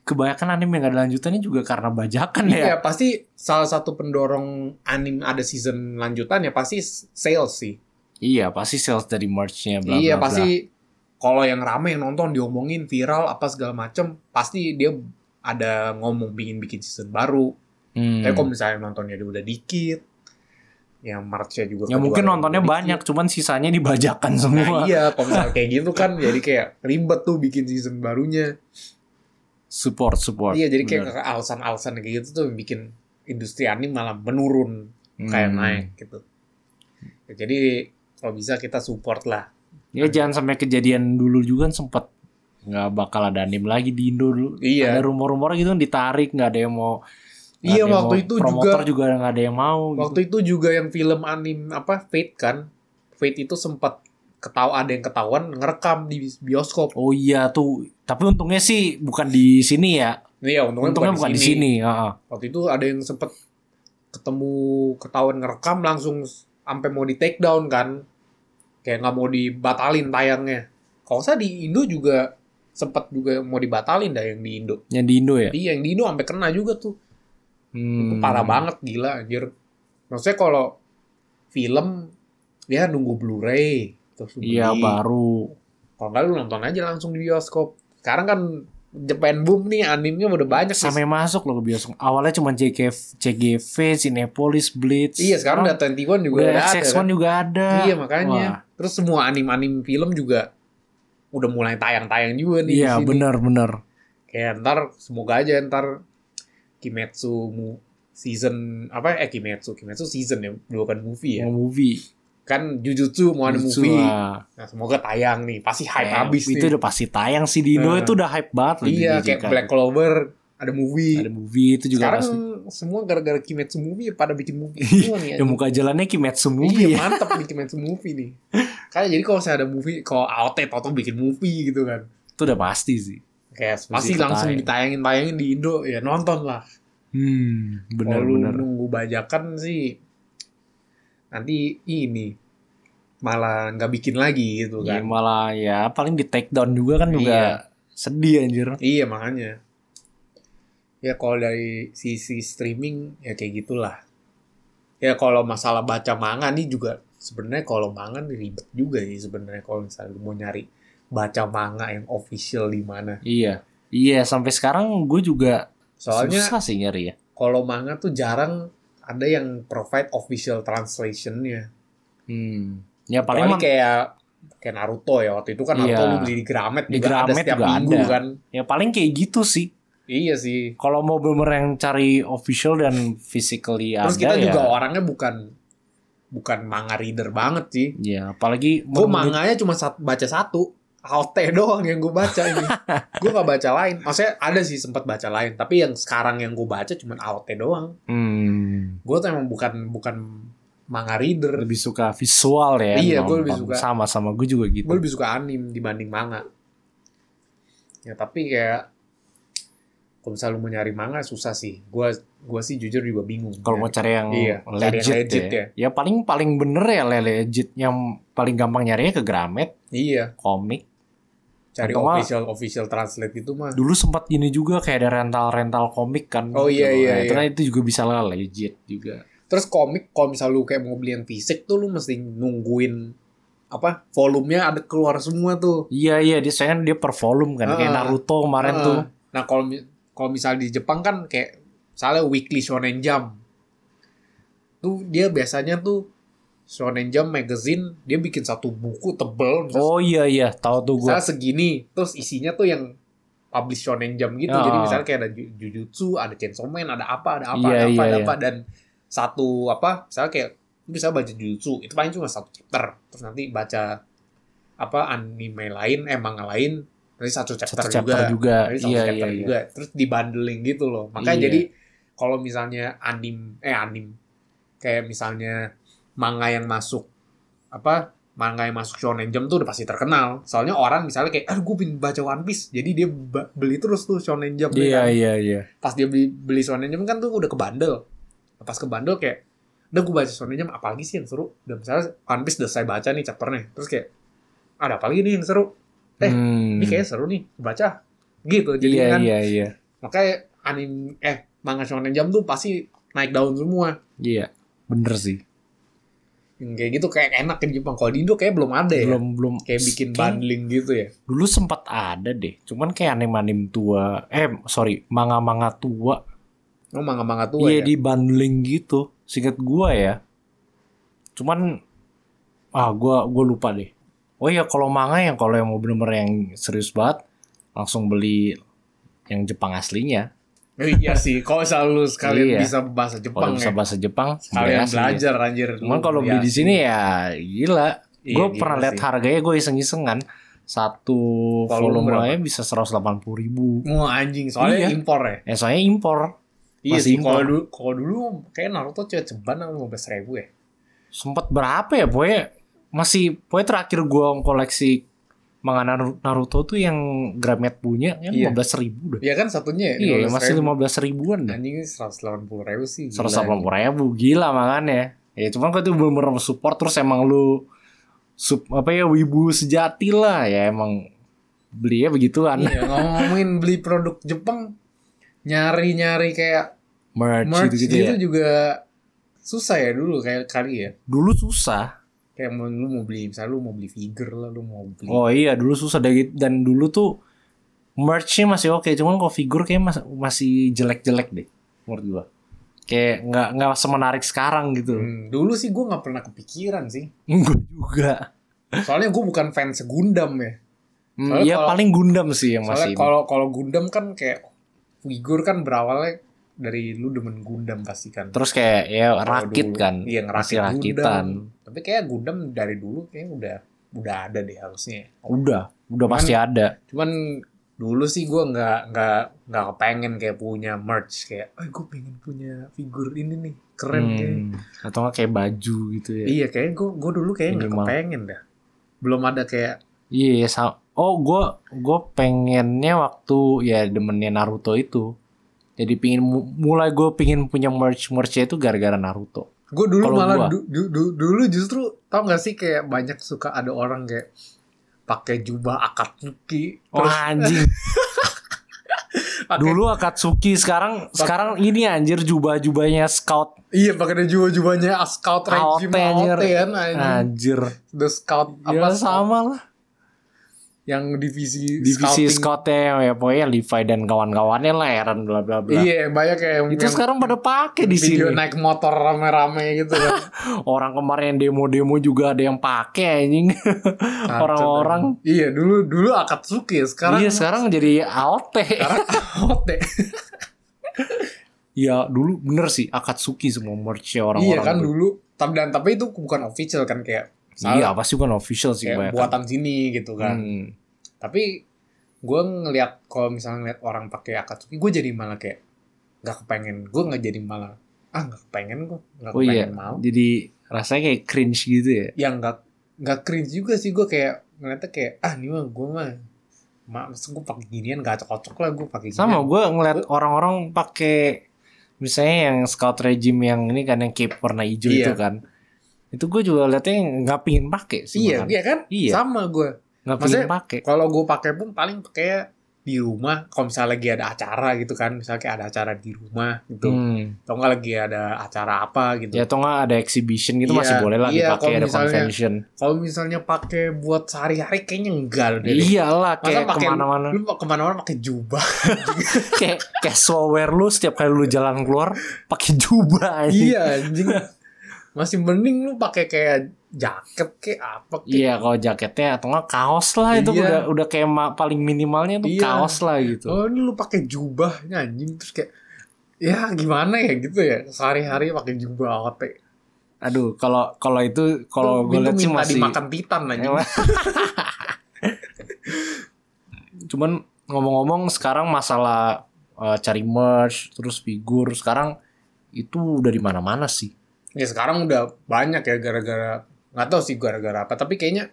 [SPEAKER 2] kebanyakan anime yang gak ada lanjutannya juga karena bajakan ya.
[SPEAKER 1] Iya, pasti salah satu pendorong anime ada season lanjutannya pasti sales sih.
[SPEAKER 2] Iya pasti sales dari merchnya. Bla,
[SPEAKER 1] iya,
[SPEAKER 2] bla, bla.
[SPEAKER 1] pasti kalau yang rame yang nonton diomongin viral apa segala macem, pasti dia ada ngomong pingin bikin season baru.
[SPEAKER 2] Hmm.
[SPEAKER 1] Tapi kalau misalnya nontonnya dia udah dikit, ya March-nya juga
[SPEAKER 2] Ya mungkin
[SPEAKER 1] kejuaraan
[SPEAKER 2] nontonnya
[SPEAKER 1] dikit.
[SPEAKER 2] banyak, cuman sisanya dibajakan semua.
[SPEAKER 1] Iya. Nah, iya, kalau misalnya kayak gitu kan jadi kayak ribet tuh bikin season barunya.
[SPEAKER 2] Support, support.
[SPEAKER 1] Iya, jadi kayak
[SPEAKER 2] Bener.
[SPEAKER 1] alasan-alasan kayak gitu tuh bikin industri anime malah menurun kayak
[SPEAKER 2] Hmm.
[SPEAKER 1] naik gitu. Ya, jadi kalau bisa kita support lah.
[SPEAKER 2] Ya jangan sampai kejadian dulu juga kan sempet nggak bakal ada anime lagi di Indo dulu.
[SPEAKER 1] Iya.
[SPEAKER 2] Ada rumor-rumor gitu kan ditarik, nggak ada yang mau. nggak
[SPEAKER 1] Iya,
[SPEAKER 2] ada yang
[SPEAKER 1] waktu
[SPEAKER 2] mau.
[SPEAKER 1] itu
[SPEAKER 2] promotor juga nggak ada yang mau. gitu.
[SPEAKER 1] Waktu itu juga yang film anim apa Fate kan, Fate itu sempat ketau ada yang ketahuan ngerekam di bioskop.
[SPEAKER 2] Oh iya tuh, tapi untungnya sih bukan di sini ya.
[SPEAKER 1] Iya, untungnya,
[SPEAKER 2] Untungnya bukan di sini. heeh.
[SPEAKER 1] Waktu itu ada yang sempat ketemu ketahuan ngerekam langsung sampai mau di take down kan. Kayak nggak mau dibatalin tayangnya. Kalau saya di Indo juga sempat juga mau dibatalin dah yang di Indo.
[SPEAKER 2] Yang di Indo ya.
[SPEAKER 1] Iya, yang di Indo sampai kena juga tuh. Itu
[SPEAKER 2] Hmm.
[SPEAKER 1] parah banget gila anjir. Maksudnya kalau film dia nunggu Blu-ray terus lu
[SPEAKER 2] Iya
[SPEAKER 1] beli.
[SPEAKER 2] baru.
[SPEAKER 1] Kalau nggak lu nonton aja langsung di bioskop. Sekarang kan Japan boom nih animenya udah banyak nih.
[SPEAKER 2] Sampai masuk loh ke bioskop. Awalnya cuma JKF, CGV, Cinepolis, Blitz.
[SPEAKER 1] Iya sekarang udah 21 juga
[SPEAKER 2] udah
[SPEAKER 1] udah ada
[SPEAKER 2] XX1
[SPEAKER 1] kan.
[SPEAKER 2] juga ada.
[SPEAKER 1] Iya makanya.
[SPEAKER 2] Wah.
[SPEAKER 1] Terus semua anim-anim film juga udah mulai tayang-tayang juga nih. di
[SPEAKER 2] Iya
[SPEAKER 1] sini.
[SPEAKER 2] benar-benar.
[SPEAKER 1] Kayak ntar semoga aja ntar Kimetsu mu- season apa eh Kimetsu Kimetsu season ya bukan movie ya
[SPEAKER 2] Mau movie.
[SPEAKER 1] kan Jujutsu mau ada
[SPEAKER 2] Jujutsu,
[SPEAKER 1] movie
[SPEAKER 2] ah.
[SPEAKER 1] nah semoga tayang nih pasti hype
[SPEAKER 2] Kayak
[SPEAKER 1] habis
[SPEAKER 2] Eh, Itu
[SPEAKER 1] nih
[SPEAKER 2] udah pasti tayang sih di Indo
[SPEAKER 1] Nah.
[SPEAKER 2] itu udah hype banget loh di
[SPEAKER 1] iya
[SPEAKER 2] JJK.
[SPEAKER 1] kayak Black Clover ada movie
[SPEAKER 2] Ada movie itu juga
[SPEAKER 1] sekarang
[SPEAKER 2] pasti.
[SPEAKER 1] semua gara-gara Kimetsu movie ya pada bikin movie semua nih
[SPEAKER 2] Ya muka jalannya Kimetsu movie
[SPEAKER 1] iya,
[SPEAKER 2] ya.
[SPEAKER 1] mantep nih Kimetsu movie nih. Kayak jadi kalau saya ada movie, kalau AOT Toto bikin movie gitu kan.
[SPEAKER 2] Itu udah pasti sih.
[SPEAKER 1] Kayak pasti
[SPEAKER 2] ikut
[SPEAKER 1] langsung
[SPEAKER 2] tayang.
[SPEAKER 1] ditayangin-tayangin di Indo, ya nonton lah.
[SPEAKER 2] Hmm,
[SPEAKER 1] Kalau lu
[SPEAKER 2] benar-benar.
[SPEAKER 1] nunggu bajakan sih, nanti ini malah nggak bikin lagi gitu
[SPEAKER 2] Ya,
[SPEAKER 1] kan.
[SPEAKER 2] malah ya paling di take down juga kan juga
[SPEAKER 1] Iya.
[SPEAKER 2] sedih anjir.
[SPEAKER 1] Iya makanya. Ya kalau dari sisi streaming ya kayak gitulah. Ya kalau masalah baca manga nih juga sebenarnya kalau manga nih ribet juga sih sebenarnya kalau misalnya lu mau nyari baca manga yang official di mana.
[SPEAKER 2] Iya. Iya, sampai sekarang gue juga
[SPEAKER 1] Soalnya
[SPEAKER 2] susah sih nyari ya.
[SPEAKER 1] kalau manga tuh jarang ada yang provide official translationnya.
[SPEAKER 2] Hmm. Ya
[SPEAKER 1] Paling
[SPEAKER 2] paling mah-
[SPEAKER 1] kayak kayak Naruto ya waktu itu kan Naruto
[SPEAKER 2] Iya.
[SPEAKER 1] lu beli di Gramet
[SPEAKER 2] Di
[SPEAKER 1] juga ada
[SPEAKER 2] Gramet
[SPEAKER 1] setiap
[SPEAKER 2] juga
[SPEAKER 1] minggu
[SPEAKER 2] ada.
[SPEAKER 1] kan.
[SPEAKER 2] ya paling kayak gitu sih.
[SPEAKER 1] Iya sih.
[SPEAKER 2] Kalau mau bener yang cari official dan physically ada
[SPEAKER 1] Terus kita
[SPEAKER 2] ya.
[SPEAKER 1] juga orangnya bukan bukan manga reader banget sih.
[SPEAKER 2] Ya, apalagi
[SPEAKER 1] Gue
[SPEAKER 2] menurut-
[SPEAKER 1] manganya cuma sat- baca satu. AOT doang yang gue baca ini. gue gak baca lain. Maksudnya ada sih sempat baca lain. Tapi yang sekarang yang gue baca cuma AOT doang.
[SPEAKER 2] Hmm,
[SPEAKER 1] Gue tuh emang bukan bukan manga reader.
[SPEAKER 2] lebih suka visual ya.
[SPEAKER 1] Iya,
[SPEAKER 2] nonton.
[SPEAKER 1] gua lebih suka.
[SPEAKER 2] Sama-sama gue juga gitu.
[SPEAKER 1] Gue lebih suka anim dibanding manga. Ya tapi kayak kalau misalnya lu mau nyari manga susah sih. Gue gua sih jujur juga bingung.
[SPEAKER 2] Kalau mau cari yang
[SPEAKER 1] Iya, cari
[SPEAKER 2] legit,
[SPEAKER 1] yang legit
[SPEAKER 2] ya. Ya paling paling bener ya le- legit yang paling gampang nyarinya ke Gramet,
[SPEAKER 1] Iya,
[SPEAKER 2] komik.
[SPEAKER 1] cari
[SPEAKER 2] Atau nggak-
[SPEAKER 1] official official translate itu mah.
[SPEAKER 2] Dulu sempat ini juga kayak ada rental-rental komik kan.
[SPEAKER 1] Oh, iya,
[SPEAKER 2] Gitu.
[SPEAKER 1] iya,
[SPEAKER 2] Nah, Itu
[SPEAKER 1] iya.
[SPEAKER 2] kan itu juga bisa lah legit juga.
[SPEAKER 1] Terus komik kalau misal lu kayak mau beli yang fisik tuh lu mesti nungguin apa volumenya ada keluar semua tuh.
[SPEAKER 2] Iya iya dia sayang dia per volume kan kayak
[SPEAKER 1] Ah.
[SPEAKER 2] Naruto kemarin
[SPEAKER 1] Ah.
[SPEAKER 2] tuh.
[SPEAKER 1] Nah, kalau mi- kalau misal di Jepang kan kayak misalnya Weekly Shonen Jump. Tuh dia biasanya tuh Shonen Jump magazine dia bikin satu buku tebel misalnya,
[SPEAKER 2] Oh iya iya tahu tuh gue.
[SPEAKER 1] misalnya segini terus isinya tuh yang publish Shonen Jump gitu.
[SPEAKER 2] Ah.
[SPEAKER 1] Jadi misalnya kayak ada Ju- Jujutsu, ada Chainsaw Man, ada apa, ada apa,
[SPEAKER 2] Iya,
[SPEAKER 1] ada apa,
[SPEAKER 2] iya,
[SPEAKER 1] ada
[SPEAKER 2] iya.
[SPEAKER 1] apa dan satu apa misalnya kayak lu bisa baca Jujutsu itu paling cuma satu chapter terus nanti baca apa anime lain eh manga lain nanti satu chapter,
[SPEAKER 2] Satu chapter juga.
[SPEAKER 1] Jadi satu
[SPEAKER 2] Iya iya
[SPEAKER 1] chapter
[SPEAKER 2] iya.
[SPEAKER 1] juga. Terus dibandling gitu loh. Makanya
[SPEAKER 2] Iya.
[SPEAKER 1] jadi kalau misalnya anim eh anim kayak misalnya manga yang masuk apa manga yang masuk shonen jump tuh udah pasti terkenal. Soalnya orang misalnya kayak aduh gue pengen baca One Piece. Jadi dia ba- beli terus tuh shonen jump ya
[SPEAKER 2] Iya
[SPEAKER 1] kan.
[SPEAKER 2] iya iya.
[SPEAKER 1] Pas dia beli, beli shonen jump kan tuh udah kebandel. Pas kebandel kayak udah gue baca shonen jump apalagi sih yang seru. Dan misalnya One Piece udah saya baca nih chapternya. Terus kayak ada apalagi nih yang seru. Eh,
[SPEAKER 2] Hmm.
[SPEAKER 1] Ini kayaknya seru nih baca. Gitu. Jadi
[SPEAKER 2] iya,
[SPEAKER 1] kan
[SPEAKER 2] iya iya
[SPEAKER 1] makanya anime eh manga shonen jump tuh pasti naik daun semua
[SPEAKER 2] iya. Bener sih.
[SPEAKER 1] yang kayak gitu kayak enak di Jepang kalau di Indo kayak belum ada ya
[SPEAKER 2] Belum belum
[SPEAKER 1] kayak bikin
[SPEAKER 2] Kayak
[SPEAKER 1] bundling gitu ya
[SPEAKER 2] Dulu sempat ada deh, cuman kayak anime-anime tua, eh sorry, manga-manga tua,
[SPEAKER 1] oh manga manga tua
[SPEAKER 2] iya
[SPEAKER 1] ya
[SPEAKER 2] di bundling gitu. Singkat gua ya, Cuman ah gua gua lupa deh. Oh iya kalau manga yang kalau yang mau bener-bener yang serius banget langsung beli yang Jepang aslinya.
[SPEAKER 1] Eh, iya sih, kalau selalu sekalian
[SPEAKER 2] Iya.
[SPEAKER 1] bisa bahasa
[SPEAKER 2] Kalau
[SPEAKER 1] Jepang ya.
[SPEAKER 2] bisa bahasa Jepang,
[SPEAKER 1] Sekalian
[SPEAKER 2] aslinya.
[SPEAKER 1] belajar anjir.
[SPEAKER 2] Cuman kalau beli di sini ya gila.
[SPEAKER 1] Iya,
[SPEAKER 2] gue
[SPEAKER 1] gila
[SPEAKER 2] pernah lihat
[SPEAKER 1] sih.
[SPEAKER 2] harganya gue iseng-iseng kan. Satu
[SPEAKER 1] Volume
[SPEAKER 2] volumenya bisa 180 ribu.
[SPEAKER 1] Mau anjing, soalnya
[SPEAKER 2] Iya.
[SPEAKER 1] impor ya.
[SPEAKER 2] Eh soalnya impor.
[SPEAKER 1] Iya
[SPEAKER 2] Masih
[SPEAKER 1] sih, kalau
[SPEAKER 2] impor.
[SPEAKER 1] dulu, kalau dulu kayak Naruto cuma ceban sama 15 ribu ya.
[SPEAKER 2] Sempet berapa ya pokoknya. Masih pokoknya terakhir gue koleksi manga Naru- Naruto tuh yang Gramet punya yang
[SPEAKER 1] Iya.
[SPEAKER 2] 15 ribu deh.
[SPEAKER 1] Iya kan satunya
[SPEAKER 2] Iya,
[SPEAKER 1] 15.000.
[SPEAKER 2] masih 15 ribuan deh.
[SPEAKER 1] Anjing ini 180 ribu sih. gila.
[SPEAKER 2] 180 ribu gila makanya. Ya cuman kan itu belum support terus emang lu sub apa ya wibu sejati lah ya emang belinya begituan.
[SPEAKER 1] Iya, ngomongin beli produk Jepang nyari-nyari kayak
[SPEAKER 2] merch,
[SPEAKER 1] merch
[SPEAKER 2] gitu,
[SPEAKER 1] gitu,
[SPEAKER 2] ya.
[SPEAKER 1] juga susah ya dulu kayak kali ya.
[SPEAKER 2] Dulu susah.
[SPEAKER 1] Kayak mau- lu mau beli misalnya lu mau beli figure lah, lu mau beli
[SPEAKER 2] Oh iya, dulu susah dan, gitu- dan dulu tuh merch-nya masih oke, cuman kalau figur kayak mas- masih jelek-jelek deh menurut gua. Kayak nggak nggak semenarik sekarang gitu.
[SPEAKER 1] Hmm, dulu sih gue nggak pernah kepikiran sih.
[SPEAKER 2] Enggak juga.
[SPEAKER 1] Soalnya gue bukan fans Gundam ya.
[SPEAKER 2] Hmm,
[SPEAKER 1] Soalnya
[SPEAKER 2] Iya
[SPEAKER 1] kalau-
[SPEAKER 2] paling Gundam sih yang
[SPEAKER 1] Soalnya
[SPEAKER 2] masih.
[SPEAKER 1] kalau kalau Gundam kan kayak figur kan berawalnya dari lu demen Gundam pasti kan.
[SPEAKER 2] Terus kayak ya
[SPEAKER 1] Kalau
[SPEAKER 2] rakit
[SPEAKER 1] dulu.
[SPEAKER 2] kan.
[SPEAKER 1] Iya
[SPEAKER 2] masih
[SPEAKER 1] ngerakit
[SPEAKER 2] rakitan.
[SPEAKER 1] Gundam. Tapi kayak Gundam dari dulu kayaknya udah udah ada deh harusnya.
[SPEAKER 2] Udah,
[SPEAKER 1] Cuman-
[SPEAKER 2] udah pasti ada.
[SPEAKER 1] Cuman dulu sih gue nggak nggak nggak kepengen kayak punya merch kayak, eh gue pengen punya figur ini nih keren kayaknya."
[SPEAKER 2] Hmm, atau nggak kayak baju gitu ya.
[SPEAKER 1] Iya kayaknya gue gue dulu kayaknya nggak
[SPEAKER 2] Minimal.
[SPEAKER 1] kepengen dah. Belum ada kayak
[SPEAKER 2] Iya, sa- oh gue gue pengennya waktu ya demennya Naruto itu. Jadi pingin mu- mulai gue pingin punya merch merchnya itu gara-gara Naruto.
[SPEAKER 1] Gue dulu
[SPEAKER 2] Kalau
[SPEAKER 1] malah
[SPEAKER 2] gua.
[SPEAKER 1] du- du- du- dulu justru tau gak sih kayak banyak suka ada orang kayak pakai jubah akatsuki
[SPEAKER 2] Oh
[SPEAKER 1] terus
[SPEAKER 2] anjing,
[SPEAKER 1] pakai-
[SPEAKER 2] dulu Akatsuki sekarang sekarang ini anjir jubah-jubahnya scout
[SPEAKER 1] iya pakai jubah-jubahnya as- scout
[SPEAKER 2] AOT,
[SPEAKER 1] regime AOT kan anjing.
[SPEAKER 2] anjir.
[SPEAKER 1] the scout
[SPEAKER 2] Ya
[SPEAKER 1] apa
[SPEAKER 2] sama lah.
[SPEAKER 1] yang divisi scouting.
[SPEAKER 2] Divisi scoutnya ya pokoknya Levi dan kawan-kawannya lah Aaron bla bla bla.
[SPEAKER 1] iya banyak kayak yang,
[SPEAKER 2] Itu
[SPEAKER 1] yang
[SPEAKER 2] sekarang pada pakai di
[SPEAKER 1] video
[SPEAKER 2] sini.
[SPEAKER 1] naik motor rame-rame gitu kan
[SPEAKER 2] Orang kemarin yang demo-demo juga ada yang pakai anjing. Orang-orang
[SPEAKER 1] iya dulu dulu akatsuki ya sekarang
[SPEAKER 2] iya sekarang jadi AOT.
[SPEAKER 1] sekarang AOT
[SPEAKER 2] Ya dulu bener sih Akatsuki semua merch orang-orang.
[SPEAKER 1] iya kan
[SPEAKER 2] tuh.
[SPEAKER 1] dulu tapi dan tapi itu bukan official kan kayak misalnya
[SPEAKER 2] Iya pasti bukan official Hmm. sih
[SPEAKER 1] kayak
[SPEAKER 2] banyak.
[SPEAKER 1] buatan sini gitu kan tapi gue ngelihat kalau misalnya ngeliat orang pakai akatsuki gue jadi malah kayak nggak kepengen gue nggak jadi malah ah nggak kepengen gue nggak
[SPEAKER 2] Oh iya.
[SPEAKER 1] kepengen mau
[SPEAKER 2] Jadi rasanya kayak cringe gitu ya.
[SPEAKER 1] yang nggak nggak cringe juga sih gue kayak ngeliatnya kayak ah ini mah gue mah mak maksud gue pakai ginian gak cocok lah gue pakai ginian
[SPEAKER 2] Sama gue ngeliat orang-orang pakai misalnya yang scout regime yang ini kan yang cape warna hijau
[SPEAKER 1] Iya.
[SPEAKER 2] itu kan. Itu gue juga liatnya nggak pingin pakai sih.
[SPEAKER 1] iya
[SPEAKER 2] bahkan.
[SPEAKER 1] iya kan
[SPEAKER 2] Iya.
[SPEAKER 1] sama gue
[SPEAKER 2] Nggak
[SPEAKER 1] Maksudnya-
[SPEAKER 2] pingin pakai.
[SPEAKER 1] kalau gue pakai pun paling pakai di rumah kalau misalnya lagi ada acara gitu kan misalnya kayak ada acara di rumah gitu
[SPEAKER 2] Hmm.
[SPEAKER 1] atau nggak lagi ada acara apa gitu
[SPEAKER 2] Ya atau nggak ada exhibition gitu
[SPEAKER 1] Iya,
[SPEAKER 2] masih boleh lah
[SPEAKER 1] iya,
[SPEAKER 2] dipakai
[SPEAKER 1] kalau
[SPEAKER 2] ada
[SPEAKER 1] misalnya-
[SPEAKER 2] convention.
[SPEAKER 1] kalau misalnya pakai buat sehari-hari kayaknya enggak loh
[SPEAKER 2] Iya.
[SPEAKER 1] deh
[SPEAKER 2] Iyalah
[SPEAKER 1] Iya. Masa
[SPEAKER 2] kayak
[SPEAKER 1] pakai
[SPEAKER 2] kemana-mana.
[SPEAKER 1] lu mau kemana-mana pakai jubah
[SPEAKER 2] kayak casual wear lu setiap kali lu jalan keluar pakai jubah anjing.
[SPEAKER 1] iya anjing masih mending lu pakai kayak jaket kayak apa kayak
[SPEAKER 2] Iya kalau jaketnya atau nggak kaos lah itu
[SPEAKER 1] Iya.
[SPEAKER 2] udah udah kayak ma- paling minimalnya tuh
[SPEAKER 1] Iya.
[SPEAKER 2] kaos lah gitu.
[SPEAKER 1] oh ini lu pakai jubah ini anjing terus kayak ya gimana ya gitu ya sehari-hari pakai jubah AOT
[SPEAKER 2] Aduh kalau kalau itu
[SPEAKER 1] Itu-
[SPEAKER 2] kalau gue
[SPEAKER 1] itu
[SPEAKER 2] lihat sih
[SPEAKER 1] minta
[SPEAKER 2] masih
[SPEAKER 1] dimakan titan anjing
[SPEAKER 2] Emang. Cuman ngomong-ngomong sekarang masalah eh, cari merch terus figur sekarang itu udah di mana-mana sih.
[SPEAKER 1] ya sekarang udah banyak ya gara-gara nggak tahu sih gara-gara apa tapi kayaknya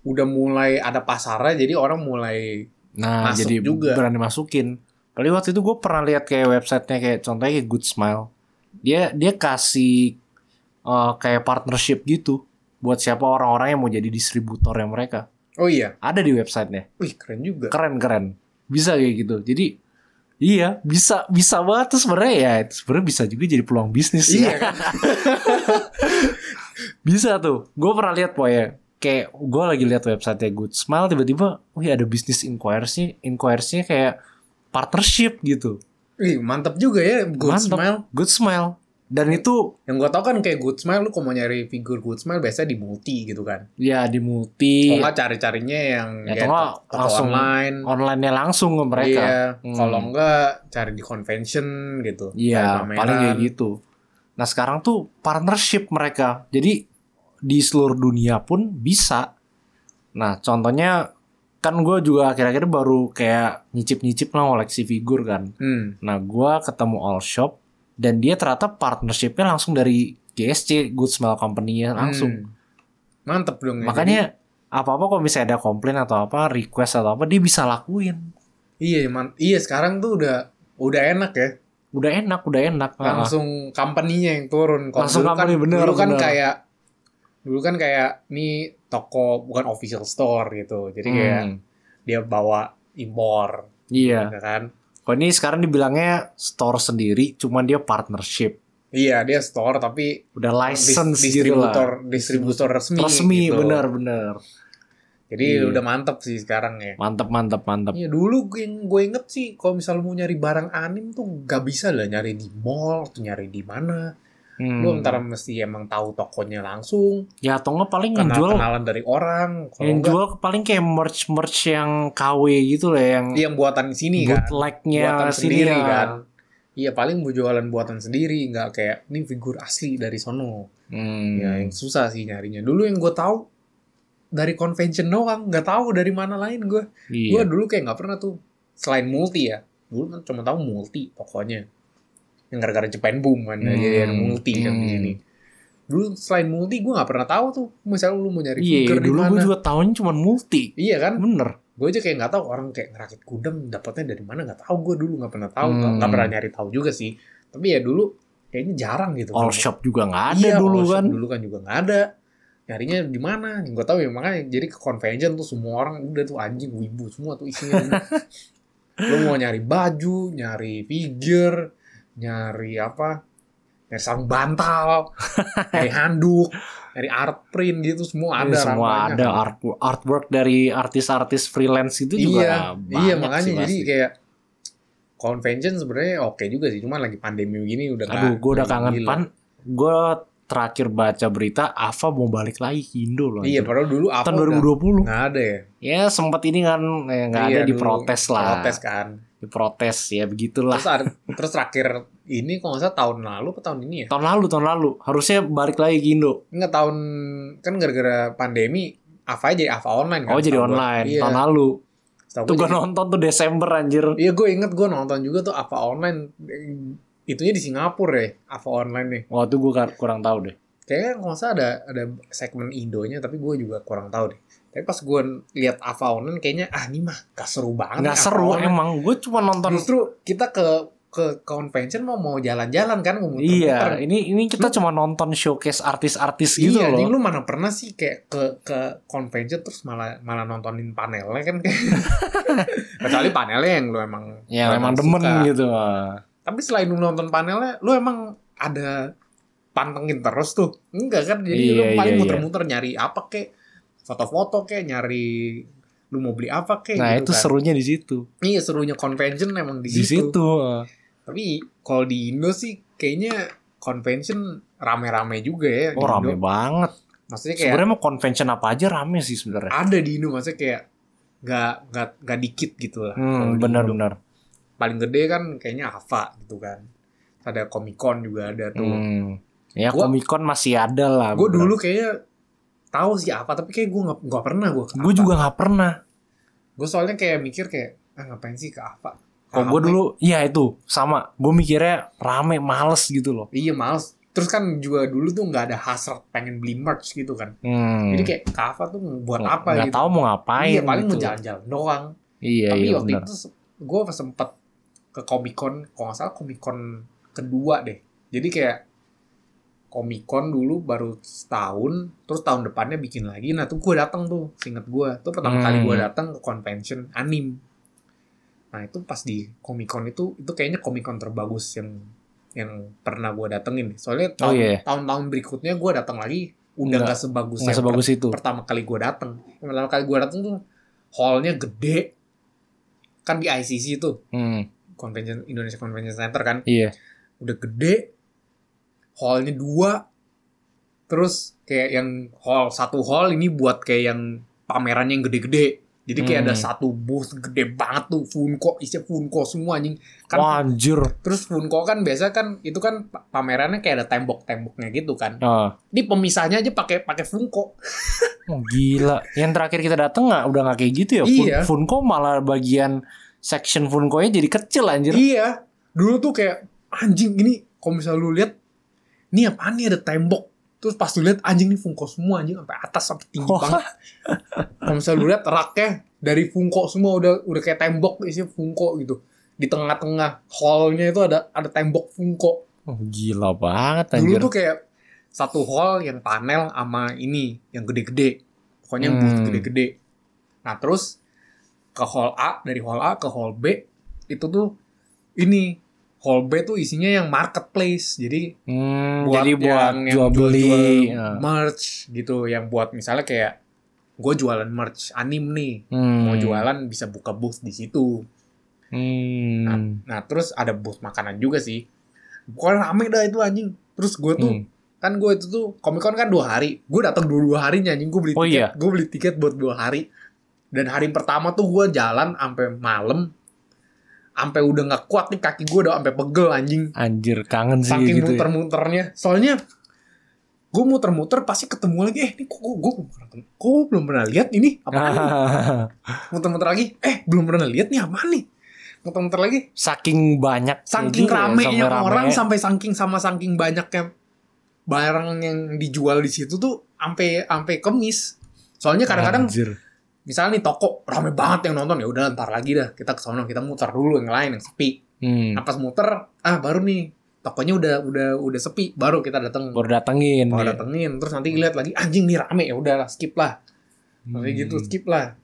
[SPEAKER 1] udah mulai ada pasarnya jadi orang mulai
[SPEAKER 2] Nah
[SPEAKER 1] Masuk
[SPEAKER 2] jadi
[SPEAKER 1] juga.
[SPEAKER 2] berani masukin. Kali waktu itu gue pernah lihat kayak websitenya kayak contohnya kayak Good Smile. Dia dia kasih eh, kayak partnership gitu buat siapa orang-orang yang mau jadi distributornya mereka.
[SPEAKER 1] oh iya
[SPEAKER 2] Ada di websitenya.
[SPEAKER 1] wih keren juga
[SPEAKER 2] Keren keren. Bisa kayak gitu. Jadi iya bisa bisa banget tuh sebenarnya ya. itu Sebenarnya bisa juga jadi peluang bisnis ya.
[SPEAKER 1] iya kan
[SPEAKER 2] Bisa tuh. Gue pernah lihat pokoknya. Kayak gue lagi lihat websitenya Good Smile tiba-tiba, wih ada bisnis inquiries-nya, inquiries-nya kayak partnership gitu.
[SPEAKER 1] wih mantap juga ya good
[SPEAKER 2] Mantap.
[SPEAKER 1] smile
[SPEAKER 2] Good Smile. Dan itu
[SPEAKER 1] Yang gue tau kan kayak Good Smile, lu kalau mau nyari figur Good Smile biasanya di multi gitu kan.
[SPEAKER 2] ya di multi
[SPEAKER 1] Kalau nggak cari-carinya yang
[SPEAKER 2] Ya, kalau nggak
[SPEAKER 1] toko- toko
[SPEAKER 2] langsung
[SPEAKER 1] online.
[SPEAKER 2] online-nya langsung ke mereka.
[SPEAKER 1] Iya.
[SPEAKER 2] Hmm.
[SPEAKER 1] Kalau nggak cari di convention gitu.
[SPEAKER 2] Iya,
[SPEAKER 1] Cari
[SPEAKER 2] paling kayak
[SPEAKER 1] pameran.
[SPEAKER 2] gitu. Nah sekarang tuh partnership mereka, jadi di seluruh dunia pun bisa. Nah contohnya kan gue juga akhir-akhir baru kayak nyicip-nyicip lah koleksi figur kan.
[SPEAKER 1] Hmm.
[SPEAKER 2] Nah gue ketemu All Shop dan dia ternyata partnershipnya langsung dari GSC Good Smell Company-nya langsung.
[SPEAKER 1] Hmm. Mantep dong. ya. Jadi-
[SPEAKER 2] Makanya apa-apa kalau misalnya ada komplain atau apa request atau apa dia bisa lakuin.
[SPEAKER 1] iya, man- iya sekarang tuh udah udah enak ya.
[SPEAKER 2] Udah enak, udah enak.
[SPEAKER 1] langsung company-nya yang turun. Kalau
[SPEAKER 2] Langsung
[SPEAKER 1] dulu kan,
[SPEAKER 2] company, bener,
[SPEAKER 1] Dulu kan
[SPEAKER 2] bener.
[SPEAKER 1] kayak dulu kan kayak nih toko bukan official store gitu. Jadi
[SPEAKER 2] Hmm,
[SPEAKER 1] kayak dia bawa impor,
[SPEAKER 2] Iya.
[SPEAKER 1] ya kan?
[SPEAKER 2] Kalau ini sekarang dibilangnya store sendiri, cuman dia partnership,
[SPEAKER 1] Iya, dia store tapi
[SPEAKER 2] udah
[SPEAKER 1] dis-
[SPEAKER 2] license gitu lah.
[SPEAKER 1] distributor distributor resmi.
[SPEAKER 2] Resmi,
[SPEAKER 1] gitu.
[SPEAKER 2] benar-benar.
[SPEAKER 1] Jadi
[SPEAKER 2] Iya.
[SPEAKER 1] udah mantep sih sekarang ya.
[SPEAKER 2] Mantap, mantap, mantap.
[SPEAKER 1] Iya, dulu gue- yang gue inget sih kalau misalnya mau nyari barang anim tuh gak bisa lah nyari di mall, tuh nyari di mana. Lu
[SPEAKER 2] Hmm.
[SPEAKER 1] antara mesti emang tahu tokonya langsung,
[SPEAKER 2] Ya atau nggak paling yang
[SPEAKER 1] kenal
[SPEAKER 2] jual,
[SPEAKER 1] kenalan dari orang. Kalau
[SPEAKER 2] yang
[SPEAKER 1] nggak,
[SPEAKER 2] jual paling kayak merch merch yang KW gitu lah, yang
[SPEAKER 1] yang buatan di sini Iya, kan.
[SPEAKER 2] bootlegnya
[SPEAKER 1] buatan
[SPEAKER 2] ya, sini
[SPEAKER 1] sendiri
[SPEAKER 2] lah.
[SPEAKER 1] kan. Iya paling bu- jualan buatan sendiri nggak kayak ini figur asli dari sono.
[SPEAKER 2] Hmm.
[SPEAKER 1] Ya yang susah sih nyarinya. Dulu yang gue tahu dari convention doang, nggak tahu dari mana lain gue.
[SPEAKER 2] Iya.
[SPEAKER 1] Gue dulu kayak nggak pernah tuh selain multi ya. Dulu kan cuma tahu multi pokoknya. Yang gara-gara Japan boom kan
[SPEAKER 2] Hmm.
[SPEAKER 1] jadi ada multi kan di
[SPEAKER 2] Hmm.
[SPEAKER 1] sini. Dulu selain multi gue nggak pernah tahu tuh misalnya lu mau nyari
[SPEAKER 2] Iya,
[SPEAKER 1] figur di
[SPEAKER 2] dulu
[SPEAKER 1] mana.
[SPEAKER 2] gue juga tahunnya cuman multi.
[SPEAKER 1] Iya kan?
[SPEAKER 2] Bener.
[SPEAKER 1] gue aja kayak nggak tahu orang kayak ngerakit gudang dapatnya dari mana nggak tahu gue dulu nggak pernah tahu
[SPEAKER 2] Hmm.
[SPEAKER 1] nggak nggak pernah nyari tahu juga sih tapi ya dulu kayaknya jarang gitu
[SPEAKER 2] All shop juga nggak ada
[SPEAKER 1] Iya,
[SPEAKER 2] dulu
[SPEAKER 1] all shop
[SPEAKER 2] kan.
[SPEAKER 1] dulu kan juga nggak ada nyarinya di mana gue tahu ya makanya jadi ke convention tuh semua orang udah tuh anjing wibu semua tuh isinya lo mau nyari baju nyari figure nyari apa nyari sarung bantal nyari handuk nyari art print gitu semua ada
[SPEAKER 2] Iya, semua
[SPEAKER 1] ramanya
[SPEAKER 2] ada art, artwork dari artis-artis freelance itu
[SPEAKER 1] iya,
[SPEAKER 2] juga banyak
[SPEAKER 1] iya
[SPEAKER 2] sih
[SPEAKER 1] makanya jadi
[SPEAKER 2] pasti.
[SPEAKER 1] kayak convention sebenarnya oke juga sih cuman lagi pandemi gini udah
[SPEAKER 2] Aduh,
[SPEAKER 1] nggak-
[SPEAKER 2] gue udah
[SPEAKER 1] lagi
[SPEAKER 2] kangen
[SPEAKER 1] gila. Iya,
[SPEAKER 2] pan. Gue terakhir baca berita Ava mau balik lagi ke Indo loh.
[SPEAKER 1] iya
[SPEAKER 2] anjir.
[SPEAKER 1] padahal dulu apa
[SPEAKER 2] tahun
[SPEAKER 1] udah
[SPEAKER 2] 2020.
[SPEAKER 1] nggak ada ya
[SPEAKER 2] Ya sempat ini kan eh, nggak
[SPEAKER 1] Iya,
[SPEAKER 2] ada
[SPEAKER 1] dulu
[SPEAKER 2] diprotes lah.
[SPEAKER 1] protes kan
[SPEAKER 2] Diprotes ya begitulah.
[SPEAKER 1] terus ada- terus terakhir ini kalau nggak salah tahun lalu atau tahun ini ya
[SPEAKER 2] Tahun lalu, tahun lalu harusnya balik lagi ke Indo.
[SPEAKER 1] nggak tahun kan gara-gara pandemi Ava jadi Ava online kan
[SPEAKER 2] Oh jadi
[SPEAKER 1] setahu gua.
[SPEAKER 2] online
[SPEAKER 1] iya,
[SPEAKER 2] tahun lalu.
[SPEAKER 1] setahu
[SPEAKER 2] Tuh
[SPEAKER 1] gua
[SPEAKER 2] gue
[SPEAKER 1] jadi-
[SPEAKER 2] nonton tuh Desember anjir.
[SPEAKER 1] iya gue inget gue nonton juga tuh Ava online itunya di Singapura ya Ava online nih
[SPEAKER 2] Wah tuh gue kurang tahu deh.
[SPEAKER 1] kayaknya kalau nggak salah ada ada segmen Indonya tapi gue juga kurang tahu deh tapi pas gue lihat Ava Onan kayaknya ah ini mah gak seru banget
[SPEAKER 2] Nggak
[SPEAKER 1] nih
[SPEAKER 2] seru
[SPEAKER 1] Ava Onan.
[SPEAKER 2] emang. Gue cuma nonton.
[SPEAKER 1] justru kita ke ke convention mau mau jalan-jalan kan mau muter-muter.
[SPEAKER 2] Iya, ini ini kita cuma nonton showcase artis-artis gitu
[SPEAKER 1] iya, anjing,
[SPEAKER 2] loh.
[SPEAKER 1] lu mana pernah sih kayak ke ke convention terus malah malah nontonin panelnya kan kecuali panelnya yang lu emang
[SPEAKER 2] Ya
[SPEAKER 1] lu
[SPEAKER 2] emang demen
[SPEAKER 1] suka.
[SPEAKER 2] gitu.
[SPEAKER 1] tapi selain lu nonton panelnya lu emang ada pantengin terus tuh enggak kan jadi lu
[SPEAKER 2] Iya,
[SPEAKER 1] paling
[SPEAKER 2] iya,
[SPEAKER 1] muter-muter nyari apa kek foto-foto kek nyari lu mau beli apa kek gitu
[SPEAKER 2] Nah itu
[SPEAKER 1] kan.
[SPEAKER 2] serunya di situ.
[SPEAKER 1] iya serunya convention emang di,
[SPEAKER 2] Di
[SPEAKER 1] situ.
[SPEAKER 2] situ. eh.
[SPEAKER 1] tapi kalau di Indo sih kayaknya convention rame-rame juga ya di
[SPEAKER 2] Oh rame
[SPEAKER 1] Indo.
[SPEAKER 2] banget.
[SPEAKER 1] maksudnya kayak
[SPEAKER 2] Sebenarnya mau convention apa aja rame sih sebenarnya.
[SPEAKER 1] ada di Indo maksudnya kayak nggak nggak nggak dikit gitu lah Kalau
[SPEAKER 2] Hmm,
[SPEAKER 1] di Indo.
[SPEAKER 2] benar-benar.
[SPEAKER 1] paling gede kan kayaknya Ava gitu kan ada Comic Con juga ada tuh
[SPEAKER 2] Hmm. Ya
[SPEAKER 1] Gua-
[SPEAKER 2] Comic Con masih ada lah.
[SPEAKER 1] gue dulu kayaknya tahu sih apa tapi kayak gue nggak nggak pernah gue
[SPEAKER 2] Gue juga nggak pernah.
[SPEAKER 1] gue soalnya kayak mikir kayak ah ngapain sih ke apa
[SPEAKER 2] Kalau gue
[SPEAKER 1] Rame.
[SPEAKER 2] dulu, iya itu sama. Gue mikirnya rame, males gitu loh.
[SPEAKER 1] iya males terus kan juga dulu tuh nggak ada hasrat pengen beli merch gitu kan
[SPEAKER 2] Hmm.
[SPEAKER 1] jadi kayak ke apa tuh buat
[SPEAKER 2] Nggak-
[SPEAKER 1] apa
[SPEAKER 2] nggak
[SPEAKER 1] gitu
[SPEAKER 2] tahu mau ngapain.
[SPEAKER 1] iya paling mau
[SPEAKER 2] gitu.
[SPEAKER 1] jalan-jalan doang
[SPEAKER 2] Iya,
[SPEAKER 1] tapi
[SPEAKER 2] iya
[SPEAKER 1] waktu
[SPEAKER 2] benar.
[SPEAKER 1] itu gue sempet ke Comic Con kalau nggak salah Comic Con kedua deh jadi kayak Comic Con dulu baru setahun terus tahun depannya bikin lagi nah tuh gue datang tuh inget gue tuh pertama
[SPEAKER 2] Hmm.
[SPEAKER 1] kali gue datang ke convention anim nah itu pas di Comic Con itu itu kayaknya Comic Con terbagus yang yang pernah gue datengin soalnya
[SPEAKER 2] Oh,
[SPEAKER 1] tahun,
[SPEAKER 2] iya.
[SPEAKER 1] tahun-tahun berikutnya gue datang lagi udah
[SPEAKER 2] Nggak-
[SPEAKER 1] nggak sebagus
[SPEAKER 2] Nggak
[SPEAKER 1] yang per-
[SPEAKER 2] sebagus itu.
[SPEAKER 1] pertama kali gue datang yang pertama kali gue datang tuh hallnya gede kan di ICC tuh
[SPEAKER 2] Hmm.
[SPEAKER 1] convention Indonesia Convention Center kan
[SPEAKER 2] Iya.
[SPEAKER 1] udah gede hallnya dua terus kayak yang hall satu hall ini buat kayak yang pamerannya yang gede-gede jadi kayak
[SPEAKER 2] Hmm.
[SPEAKER 1] ada satu booth gede banget tuh Funko isinya Funko semua anjing kan
[SPEAKER 2] Wah, anjir.
[SPEAKER 1] terus Funko kan biasa kan itu kan pa- pamerannya kayak ada tembok-temboknya gitu kan
[SPEAKER 2] Ah,
[SPEAKER 1] ini pemisahnya aja pakai pakai Funko
[SPEAKER 2] oh, gila. Yang terakhir kita dateng nggak udah nggak kayak gitu ya? Fun-
[SPEAKER 1] Iya.
[SPEAKER 2] Funko malah bagian section Funko-nya jadi kecil anjir.
[SPEAKER 1] Iya. Dulu tuh kayak anjing ini kalau misalnya lu lihat ini apaan nih ada tembok. Terus pas lu lihat anjing nih Funko semua anjing sampai atas sampai tinggi
[SPEAKER 2] Wah.
[SPEAKER 1] banget. kalau misalnya lu lihat raknya dari Funko semua udah udah kayak tembok isinya Funko gitu. Di tengah-tengah hallnya itu ada ada tembok Funko.
[SPEAKER 2] Oh, gila banget
[SPEAKER 1] Dulu
[SPEAKER 2] anjir.
[SPEAKER 1] tuh kayak satu hall yang panel sama ini yang gede-gede. Pokoknya yang
[SPEAKER 2] Hmm.
[SPEAKER 1] booth gede-gede. Nah, terus ke hall A, dari hall A ke hall B itu tuh ini hall B tuh isinya yang marketplace. Jadi
[SPEAKER 2] Hmm,
[SPEAKER 1] buat
[SPEAKER 2] jadi buat
[SPEAKER 1] yang,
[SPEAKER 2] jual
[SPEAKER 1] yang
[SPEAKER 2] beli.
[SPEAKER 1] jual-jual
[SPEAKER 2] Ah.
[SPEAKER 1] merch gitu yang buat misalnya kayak gue jualan merch anim nih.
[SPEAKER 2] Hmm.
[SPEAKER 1] Mau jualan bisa buka booth di situ.
[SPEAKER 2] Hmm.
[SPEAKER 1] Nah, terus ada booth makanan juga sih. Pokoknya rame dah itu anjing. Terus gue tuh
[SPEAKER 2] Hmm.
[SPEAKER 1] kan gue itu tuh Comic Con kan dua hari gue datang dua dua harinya anjing gue beli
[SPEAKER 2] Oh,
[SPEAKER 1] tiket
[SPEAKER 2] iya?
[SPEAKER 1] gue beli tiket buat dua hari dan hari pertama tuh gue jalan sampai malam sampai udah nggak kuat nih kaki gue udah sampai pegel anjing
[SPEAKER 2] Anjir, kangen sih
[SPEAKER 1] saking
[SPEAKER 2] gitu. ya.
[SPEAKER 1] muter-muternya soalnya gue muter-muter pasti ketemu lagi eh ini kok gue gue belum pernah ketemu. kok gue belum pernah lihat ini apa muter-muter lagi eh belum pernah lihat nih apa nih muter-muter lagi
[SPEAKER 2] saking banyak
[SPEAKER 1] saking
[SPEAKER 2] gitu ya,
[SPEAKER 1] ramenya
[SPEAKER 2] sampai
[SPEAKER 1] orang
[SPEAKER 2] rame.
[SPEAKER 1] sampai saking sama saking banyaknya barang yang dijual di situ tuh sampai sampai kemis. Soalnya kadang-kadang
[SPEAKER 2] Anjir.
[SPEAKER 1] misalnya nih toko rame banget yang nonton ya udah ntar lagi dah kita ke sono kita muter dulu yang lain yang sepi. Nah,
[SPEAKER 2] Hmm,
[SPEAKER 1] pas muter ah baru nih tokonya udah udah udah sepi baru kita datang
[SPEAKER 2] baru datengin
[SPEAKER 1] mau
[SPEAKER 2] ya.
[SPEAKER 1] datengin terus nanti lihat lagi anjing nih rame ya udah lah, skip lah Kayak
[SPEAKER 2] Hmm.
[SPEAKER 1] gitu skip lah.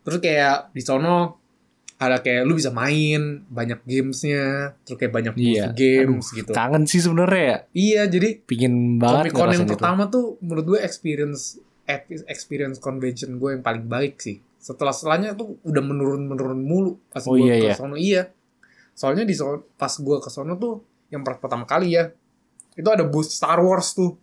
[SPEAKER 1] Terus kayak di sono ada kayak lu bisa main banyak gamesnya, terus kayak banyak booth
[SPEAKER 2] Iya.
[SPEAKER 1] games gitu.
[SPEAKER 2] Kangen sih sebenarnya ya.
[SPEAKER 1] Iya jadi
[SPEAKER 2] Pingin
[SPEAKER 1] Comic
[SPEAKER 2] banget
[SPEAKER 1] Con
[SPEAKER 2] ngerasain
[SPEAKER 1] yang
[SPEAKER 2] itu.
[SPEAKER 1] pertama tuh menurut gue experience experience convention gue yang paling baik sih. Setelah setelahnya tuh udah menurun menurun mulu pas
[SPEAKER 2] Oh,
[SPEAKER 1] gue
[SPEAKER 2] iya,
[SPEAKER 1] ke
[SPEAKER 2] iya.
[SPEAKER 1] sono iya. Soalnya di sono- pas gue ke sono tuh yang per- pertama kali ya itu ada booth Star Wars tuh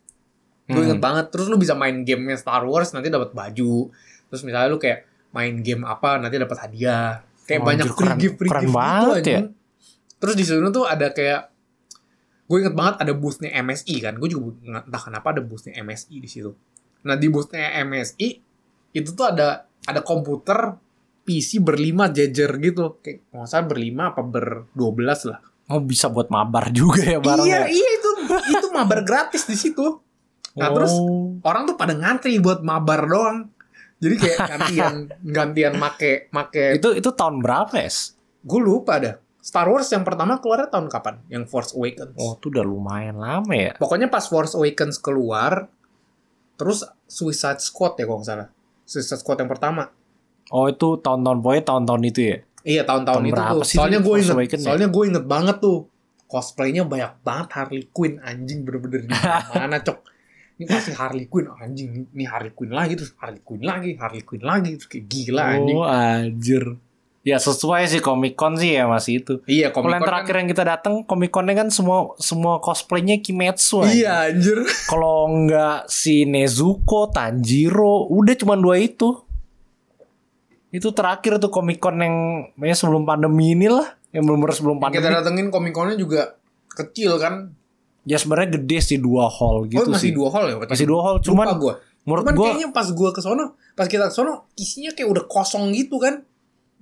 [SPEAKER 1] gue
[SPEAKER 2] Hmm.
[SPEAKER 1] inget banget terus lu bisa main gamenya Star Wars nanti dapat baju terus misalnya lu kayak main game apa nanti dapat hadiah kayak
[SPEAKER 2] Oh,
[SPEAKER 1] banyak
[SPEAKER 2] anjir,
[SPEAKER 1] free
[SPEAKER 2] keren-
[SPEAKER 1] gift free
[SPEAKER 2] keren
[SPEAKER 1] gift gitu
[SPEAKER 2] banget ya.
[SPEAKER 1] anjing. terus di sana tuh ada kayak gue inget banget ada boothnya MSI kan gue juga nggak- entah kenapa ada boothnya MSI di situ nah di boothnya MSI itu tuh ada ada komputer PC berlima jejer gitu kayak nggak salah berlima apa berdua belas lah
[SPEAKER 2] Oh bisa buat mabar juga
[SPEAKER 1] iya
[SPEAKER 2] ya barangnya.
[SPEAKER 1] iya itu itu mabar gratis di situ Nah, terus
[SPEAKER 2] Oh.
[SPEAKER 1] orang tuh pada ngantri buat mabar doang. Jadi kayak gantian gantian make make
[SPEAKER 2] itu itu tahun berapa ya?
[SPEAKER 1] gue lupa dah. Star Wars yang pertama keluarnya tahun kapan? Yang Force Awakens.
[SPEAKER 2] Oh itu udah lumayan lama ya.
[SPEAKER 1] Pokoknya pas Force Awakens keluar terus Suicide Squad ya kalau nggak salah. Suicide Squad yang pertama.
[SPEAKER 2] Oh itu tahun-tahun pokoknya tahun-tahun itu ya.
[SPEAKER 1] Iya tahun-tahun
[SPEAKER 2] Tahun
[SPEAKER 1] itu
[SPEAKER 2] berapa
[SPEAKER 1] tuh.
[SPEAKER 2] sih
[SPEAKER 1] Soalnya gue
[SPEAKER 2] ini Force
[SPEAKER 1] inget,
[SPEAKER 2] Awakens ya?
[SPEAKER 1] soalnya gue inget banget tuh cosplaynya banyak banget Harley Quinn anjing bener-bener di mana cok. Ini pasti Harley Quinn anjing. Ini Harley Quinn lagi terus Harley Quinn lagi, Harley Quinn lagi terus kayak gila anjing.
[SPEAKER 2] Oh anjir. Ya sesuai sih Comic Con sih ya masih itu.
[SPEAKER 1] Iya,
[SPEAKER 2] Kalau
[SPEAKER 1] Comic
[SPEAKER 2] yang
[SPEAKER 1] Con
[SPEAKER 2] terakhir yang kita datang Comic Con-nya kan semua semua cosplaynya Kimetsu.
[SPEAKER 1] kan,
[SPEAKER 2] anjing.
[SPEAKER 1] Iya, anjir.
[SPEAKER 2] Kalau nggak si Nezuko, Tanjiro, udah cuman dua itu. Itu terakhir tuh Comic Con yang ya sebelum pandemi inilah, yang belum sebelum
[SPEAKER 1] Kita
[SPEAKER 2] pandemi.
[SPEAKER 1] datengin Comic Con-nya juga kecil kan.
[SPEAKER 2] Ya sebenarnya gede sih dua hall gitu
[SPEAKER 1] oh, masih
[SPEAKER 2] sih.
[SPEAKER 1] dua hall ya? berarti?
[SPEAKER 2] Masih dua hall,
[SPEAKER 1] Lupa
[SPEAKER 2] cuman
[SPEAKER 1] gua.
[SPEAKER 2] menurut
[SPEAKER 1] Cuman
[SPEAKER 2] gua
[SPEAKER 1] kayaknya pas gua ke sono, pas kita ke sono isinya kayak udah kosong gitu kan.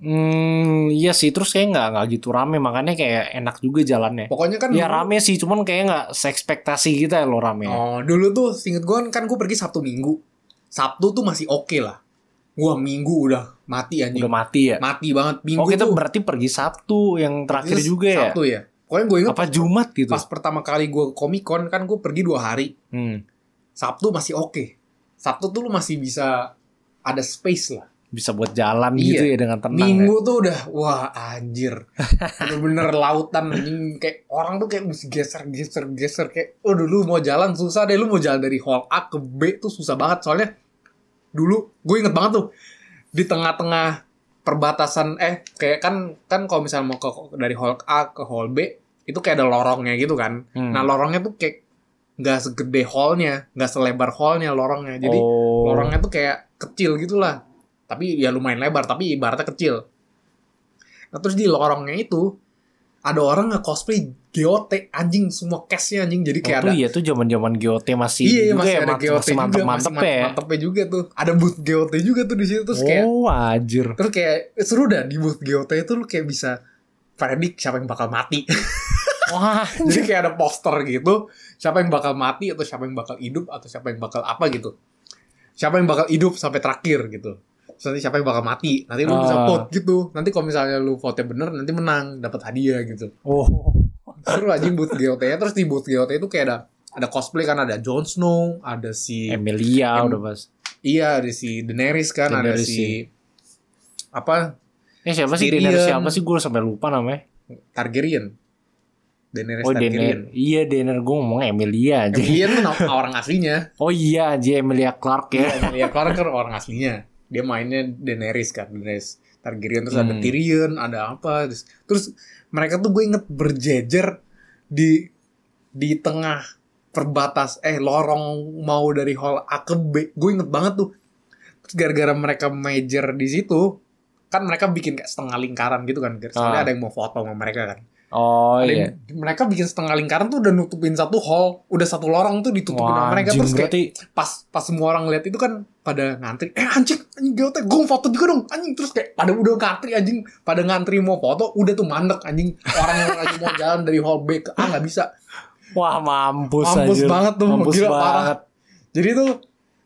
[SPEAKER 2] hmm, iya sih terus kayak nggak nggak gitu rame makanya kayak enak juga jalannya.
[SPEAKER 1] Pokoknya kan
[SPEAKER 2] Ya
[SPEAKER 1] dulu-
[SPEAKER 2] rame sih, cuman kayak nggak seekspektasi kita ya lo rame.
[SPEAKER 1] Oh, dulu tuh singkat gua kan, kan gua pergi Sabtu Minggu. Sabtu tuh masih oke lah. Gua Minggu udah mati anjing.
[SPEAKER 2] Udah mati
[SPEAKER 1] iya.
[SPEAKER 2] ya.
[SPEAKER 1] mati banget Minggu
[SPEAKER 2] Oh kita
[SPEAKER 1] tuh.
[SPEAKER 2] berarti pergi Sabtu yang terakhir
[SPEAKER 1] Terus
[SPEAKER 2] juga ya.
[SPEAKER 1] Sabtu ya. Pokoknya gue inget
[SPEAKER 2] Apa Jumat gitu?
[SPEAKER 1] pas pertama kali gua ke Comic Con kan gua pergi dua hari.
[SPEAKER 2] Hmm,
[SPEAKER 1] Sabtu masih oke. Sabtu tuh lu masih bisa ada space lah.
[SPEAKER 2] bisa buat jalan
[SPEAKER 1] Iya.
[SPEAKER 2] gitu ya dengan tenang. ya.
[SPEAKER 1] Minggu tuh udah wah anjir. Bener-bener lautan anjing kayak orang tuh kayak mesti geser-geser geser kayak oh dulu mau jalan susah deh lu mau jalan dari hall A ke B tuh susah banget soalnya dulu gue inget banget tuh di tengah-tengah perbatasan eh kayak kan kan kalau misalnya mau ke dari hall A ke hall B itu kayak ada lorongnya gitu kan.
[SPEAKER 2] Hmm.
[SPEAKER 1] Nah lorongnya tuh kayak nggak segede hallnya, nggak selebar hallnya lorongnya. Jadi
[SPEAKER 2] oh.
[SPEAKER 1] lorongnya tuh kayak kecil gitulah. Tapi ya lumayan lebar, tapi ibaratnya kecil. Nah terus di lorongnya itu ada orang nge cosplay GOT anjing semua cashnya anjing jadi kayak
[SPEAKER 2] Oh,
[SPEAKER 1] ada
[SPEAKER 2] tuh iya tuh zaman-zaman GOT masih
[SPEAKER 1] iya
[SPEAKER 2] juga
[SPEAKER 1] masih
[SPEAKER 2] ya,
[SPEAKER 1] ada
[SPEAKER 2] mant-
[SPEAKER 1] GOT
[SPEAKER 2] masih
[SPEAKER 1] juga
[SPEAKER 2] mantep-mantep
[SPEAKER 1] masih
[SPEAKER 2] ya.
[SPEAKER 1] mantepnya juga tuh ada booth GOT juga tuh di situ terus kayak
[SPEAKER 2] oh, anjir.
[SPEAKER 1] terus kayak seru dah di booth GOT itu lu kayak bisa predik siapa yang bakal mati
[SPEAKER 2] Wah,
[SPEAKER 1] Jadi kayak ada poster gitu, siapa yang bakal mati atau siapa yang bakal hidup atau siapa yang bakal apa gitu. Siapa yang bakal hidup sampai terakhir gitu. Terus nanti siapa yang bakal mati. Nanti lu bisa
[SPEAKER 2] Ah.
[SPEAKER 1] vote gitu. Nanti kalau misalnya lu vote bener nanti menang, dapat hadiah gitu.
[SPEAKER 2] oh.
[SPEAKER 1] Seru anjing booth GOT -nya. Terus di booth GOT itu kayak ada ada cosplay kan ada Jon Snow, ada si
[SPEAKER 2] Emilia
[SPEAKER 1] Em-
[SPEAKER 2] udah pas.
[SPEAKER 1] iya, ada si Daenerys kan, ada
[SPEAKER 2] Daenerys, iya.
[SPEAKER 1] si apa?
[SPEAKER 2] Eh siapa sih
[SPEAKER 1] Tyrion.
[SPEAKER 2] Daenerys siapa sih gue sampai lupa namanya.
[SPEAKER 1] Targaryen. Daenerys
[SPEAKER 2] Oh
[SPEAKER 1] Targaryen.
[SPEAKER 2] Daenerys. Iya Daenerys gue ngomong Emilia aja.
[SPEAKER 1] Targaryen tuh nama orang aslinya.
[SPEAKER 2] Oh iya aja Emilia Clark ya.
[SPEAKER 1] Emilia Clarke kan orang aslinya. Dia mainnya Daenerys kan, Daenerys Targaryen terus ada
[SPEAKER 2] Hmm.
[SPEAKER 1] Tyrion, ada apa terus, terus mereka tuh gue inget berjejer di di tengah perbatas eh lorong mau dari hall A ke B. Gue inget banget tuh. Terus gara-gara mereka major di situ, kan mereka bikin kayak setengah lingkaran gitu kan. Soalnya
[SPEAKER 2] Ah.
[SPEAKER 1] ada yang mau foto sama mereka kan.
[SPEAKER 2] Oh
[SPEAKER 1] Ada
[SPEAKER 2] iya.
[SPEAKER 1] yang- mereka bikin setengah lingkaran tuh udah nutupin satu hall, udah satu lorong tuh ditutupin sama
[SPEAKER 2] Wah,
[SPEAKER 1] mereka
[SPEAKER 2] anjing,
[SPEAKER 1] terus kayak
[SPEAKER 2] berarti
[SPEAKER 1] pas pas semua orang lihat itu kan pada ngantri eh anjing anjing gue gue mau foto juga dong anjing terus kayak pada udah ngantri anjing pada ngantri mau foto udah tuh mandek anjing orang yang lagi mau jalan dari hall B ke A nggak bisa
[SPEAKER 2] wah mampus,
[SPEAKER 1] mampus
[SPEAKER 2] anjir.
[SPEAKER 1] banget tuh
[SPEAKER 2] Mampus
[SPEAKER 1] gila parah
[SPEAKER 2] banget.
[SPEAKER 1] jadi tuh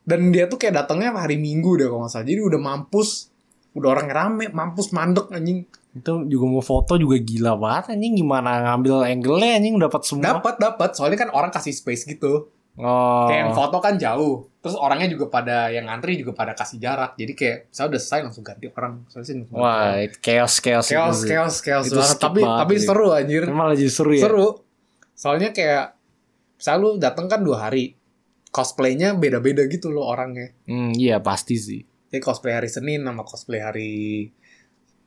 [SPEAKER 1] dan dia tuh kayak datangnya hari Minggu deh kalau nggak salah jadi udah mampus udah orang rame mampus mandek anjing
[SPEAKER 2] Itu juga mau foto juga gila banget anjing gimana ngambil angle-nya anjing dapat semua.
[SPEAKER 1] dapat dapat soalnya kan orang kasih space gitu
[SPEAKER 2] Oh.
[SPEAKER 1] kayak yang foto kan jauh terus orangnya juga pada yang ngantri juga pada kasih jarak jadi kayak saya udah selesai langsung ganti orang selesai langsung ganti orang.
[SPEAKER 2] Wah, chaos chaos
[SPEAKER 1] chaos
[SPEAKER 2] itu sih.
[SPEAKER 1] chaos chaos
[SPEAKER 2] Itu
[SPEAKER 1] banget.
[SPEAKER 2] skip
[SPEAKER 1] tapi
[SPEAKER 2] banget
[SPEAKER 1] tapi
[SPEAKER 2] sih.
[SPEAKER 1] seru anjir
[SPEAKER 2] Malah jadi seru ya.
[SPEAKER 1] seru soalnya kayak misalnya lu dateng kan dua hari cosplaynya beda-beda gitu loh orangnya
[SPEAKER 2] Hmm, iya pasti sih.
[SPEAKER 1] jadi cosplay hari Senin sama cosplay hari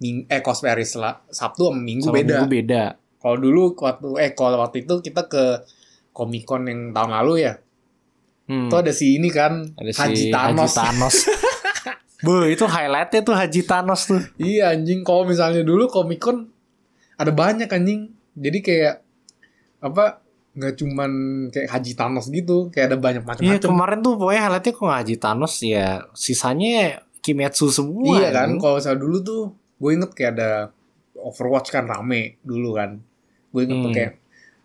[SPEAKER 1] Ming- eh cosplay hari Sela- Sabtu sama Minggu
[SPEAKER 2] Sama
[SPEAKER 1] beda
[SPEAKER 2] minggu beda.
[SPEAKER 1] kalau dulu waktu eh kalau waktu itu kita ke Comic Con yang tahun lalu ya
[SPEAKER 2] Hmm.
[SPEAKER 1] itu ada si ini kan
[SPEAKER 2] Ada si
[SPEAKER 1] Haji Thanos
[SPEAKER 2] Haji Thanos. Bu, itu highlightnya tuh Haji Thanos tuh.
[SPEAKER 1] Iya anjing, kalau misalnya dulu Comic Con ada banyak anjing. Jadi kayak apa nggak cuman kayak Haji Thanos gitu, kayak ada banyak
[SPEAKER 2] Iya
[SPEAKER 1] macam-macam.
[SPEAKER 2] kemarin tuh pokoknya highlightnya kok Haji Thanos ya. Sisanya Kimetsu semua.
[SPEAKER 1] Iya kan,
[SPEAKER 2] anjing.
[SPEAKER 1] kalau misalnya dulu tuh gue inget kayak ada Overwatch kan rame dulu kan. Gue inget tuh
[SPEAKER 2] Hmm.
[SPEAKER 1] kayak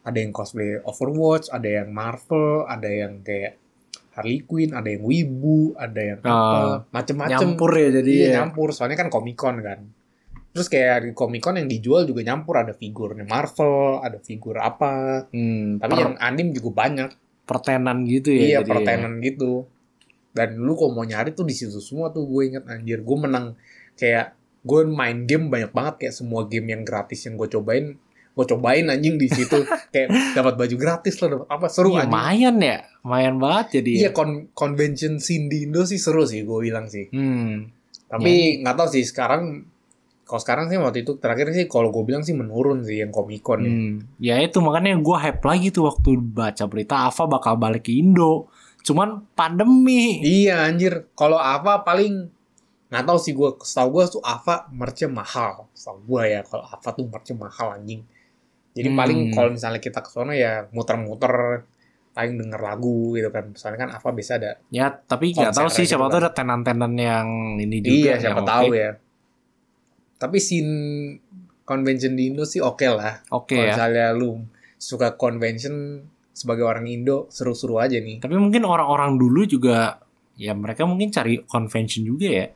[SPEAKER 1] ada yang cosplay Overwatch, ada yang Marvel, ada yang kayak Harley Quinn, ada yang Wibu, ada yang
[SPEAKER 2] Ah,
[SPEAKER 1] apa, macem-macem.
[SPEAKER 2] Nyampur ya jadi.
[SPEAKER 1] Iya
[SPEAKER 2] ya.
[SPEAKER 1] nyampur, soalnya kan Comic Con kan. Terus kayak di Comic Con yang dijual juga nyampur, ada figurnya Marvel, ada figur apa.
[SPEAKER 2] Hmm,
[SPEAKER 1] Tapi
[SPEAKER 2] per-
[SPEAKER 1] yang anim juga banyak.
[SPEAKER 2] pertenan gitu ya.
[SPEAKER 1] iya,
[SPEAKER 2] jadi ya.
[SPEAKER 1] pertenan gitu. Dan lu kalau mau nyari tuh di situ semua tuh gue inget anjir, gue menang kayak gue main game banyak banget kayak semua game yang gratis yang gue cobain gue cobain anjing di situ kayak dapat baju gratis lah dapat apa seru
[SPEAKER 2] Iya,
[SPEAKER 1] anjing
[SPEAKER 2] lumayan ya. Lumayan banget jadi. ya.
[SPEAKER 1] iya kon convention scene di Indo sih seru sih gue bilang sih
[SPEAKER 2] Hmm.
[SPEAKER 1] Tapi nggak tahu sih sekarang kalau sekarang sih waktu itu terakhir sih kalau gue bilang sih menurun sih yang komikon ya.
[SPEAKER 2] Hmm. Ya itu makanya gue hype lagi tuh waktu baca berita Ava bakal balik ke Indo. Cuman pandemi.
[SPEAKER 1] Iya anjir, kalau Ava paling nggak tahu sih gue, setahu gue tuh Ava merchnya mahal, setahu gue ya kalau Ava tuh merchnya mahal anjing. Jadi
[SPEAKER 2] Hmm.
[SPEAKER 1] paling kalau misalnya kita ke sana ya muter-muter paling denger lagu gitu kan. Soalnya kan Ava biasa ada.
[SPEAKER 2] Ya tapi nggak tahu
[SPEAKER 1] Konsernya
[SPEAKER 2] sih siapa
[SPEAKER 1] gitu
[SPEAKER 2] tahu
[SPEAKER 1] kan.
[SPEAKER 2] ada tenan-tenan yang ini
[SPEAKER 1] iya,
[SPEAKER 2] juga.
[SPEAKER 1] siapa
[SPEAKER 2] yang
[SPEAKER 1] tahu
[SPEAKER 2] oke.
[SPEAKER 1] ya. Tapi scene convention di Indo sih oke lah.
[SPEAKER 2] Oke
[SPEAKER 1] Kalau
[SPEAKER 2] ya.
[SPEAKER 1] misalnya lu suka convention sebagai orang Indo, seru-seru aja nih.
[SPEAKER 2] Tapi mungkin orang-orang dulu juga ya mereka mungkin cari convention juga ya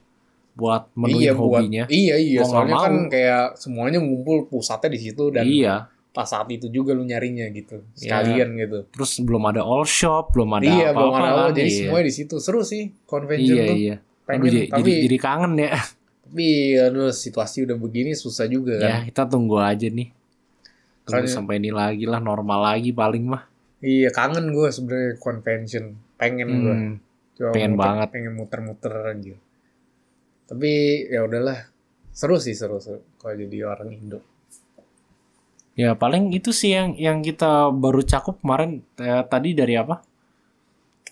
[SPEAKER 2] buat menuin hobinya.
[SPEAKER 1] Buat, iya, iya.
[SPEAKER 2] Mau nggak
[SPEAKER 1] soalnya
[SPEAKER 2] mau.
[SPEAKER 1] kan kayak semuanya ngumpul pusatnya di situ dan
[SPEAKER 2] Iya,
[SPEAKER 1] pas saat itu juga lu nyarinya gitu.
[SPEAKER 2] Iya.
[SPEAKER 1] Sekalian gitu.
[SPEAKER 2] terus belum ada all shop, belum ada
[SPEAKER 1] iya,
[SPEAKER 2] apa-apa.
[SPEAKER 1] belum ada
[SPEAKER 2] kan.
[SPEAKER 1] apa, jadi
[SPEAKER 2] iya.
[SPEAKER 1] semuanya di situ. Seru sih convention
[SPEAKER 2] Iya,
[SPEAKER 1] tuh.
[SPEAKER 2] iya. Aduh,
[SPEAKER 1] Pengen,
[SPEAKER 2] jadi,
[SPEAKER 1] tapi
[SPEAKER 2] jadi- jadi kangen ya.
[SPEAKER 1] tapi aduh, situasi udah begini susah juga kan.
[SPEAKER 2] Ya, kita tunggu aja nih. Tunggu
[SPEAKER 1] Soalnya-
[SPEAKER 2] sampai ini lagi lah normal lagi paling mah.
[SPEAKER 1] Iya, kangen gue sebenarnya convention. Pengen gue.
[SPEAKER 2] Hmm.
[SPEAKER 1] Cuma
[SPEAKER 2] pengen
[SPEAKER 1] muter-
[SPEAKER 2] banget.
[SPEAKER 1] Pengen muter-muter aja. Tapi ya udahlah. Seru sih seru, seru kalau jadi orang Indo.
[SPEAKER 2] Ya paling itu sih yang yang kita baru cakup kemarin eh, tadi dari apa?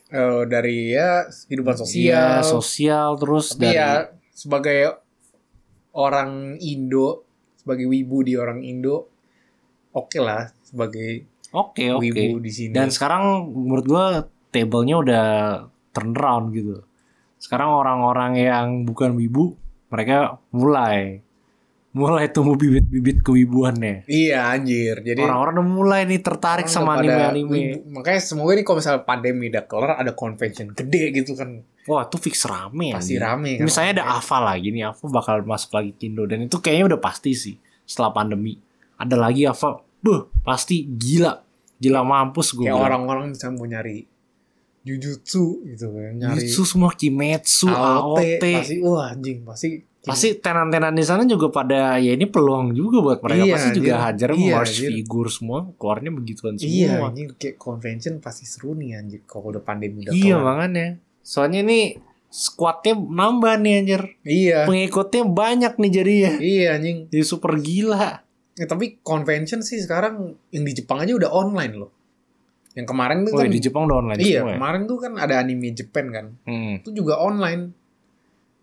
[SPEAKER 1] Eh, dari ya kehidupan
[SPEAKER 2] Iya,
[SPEAKER 1] sosial.
[SPEAKER 2] sosial terus
[SPEAKER 1] Tapi
[SPEAKER 2] dari
[SPEAKER 1] ya sebagai orang Indo, sebagai wibu di orang Indo, oke lah sebagai
[SPEAKER 2] oke Ya, oke.
[SPEAKER 1] wibu di sini.
[SPEAKER 2] Dan sekarang menurut gua tablenya udah turn around gitu. Sekarang orang-orang yang bukan wibu mereka mulai mulai tumbuh bibit-bibit kewibuannya.
[SPEAKER 1] iya anjir. Jadi
[SPEAKER 2] Orang-orang udah mulai nih tertarik
[SPEAKER 1] orang
[SPEAKER 2] sama
[SPEAKER 1] kepada
[SPEAKER 2] anime-anime.
[SPEAKER 1] wibu. Makanya semoga ini kalau misalnya pandemi udah kelar ada convention gede gitu kan
[SPEAKER 2] Wah, itu fix rame
[SPEAKER 1] pasti
[SPEAKER 2] Iya, anjing.
[SPEAKER 1] rame kan.
[SPEAKER 2] Misalnya ada Ava lagi nih, Ava bakal masuk lagi Kindo dan itu kayaknya udah pasti sih setelah pandemi. Ada lagi Ava, beh pasti gila, gila mampus gue.
[SPEAKER 1] kayak
[SPEAKER 2] bilang.
[SPEAKER 1] orang-orang bisa mau nyari jujutsu gitu kan, nyari
[SPEAKER 2] Jutsu semua Kimetsu, AOT,
[SPEAKER 1] AOT, pasti wah anjing pasti
[SPEAKER 2] pasti tenan-tenan di sana juga pada ya ini peluang juga buat mereka
[SPEAKER 1] Iya,
[SPEAKER 2] pasti juga
[SPEAKER 1] anjir.
[SPEAKER 2] hajar
[SPEAKER 1] Iya,
[SPEAKER 2] merch
[SPEAKER 1] anjir.
[SPEAKER 2] figur semua keluarnya begituan
[SPEAKER 1] Iya,
[SPEAKER 2] semua.
[SPEAKER 1] anjing kayak convention pasti seru nih anjing kalau udah pandemi
[SPEAKER 2] Iya,
[SPEAKER 1] udah kelar.
[SPEAKER 2] makanya. Soalnya ini squadnya nambah nih anjir.
[SPEAKER 1] Iya.
[SPEAKER 2] Pengikutnya banyak nih jadinya.
[SPEAKER 1] Iya anjing.
[SPEAKER 2] Jadi super gila.
[SPEAKER 1] Ya, tapi convention sih sekarang yang di Jepang aja udah online loh. Yang kemarin tuh
[SPEAKER 2] Oh,
[SPEAKER 1] kan
[SPEAKER 2] di Jepang udah online
[SPEAKER 1] Iya,
[SPEAKER 2] semua ya?
[SPEAKER 1] kemarin tuh kan ada anime Jepang kan.
[SPEAKER 2] Hmm.
[SPEAKER 1] Itu juga online.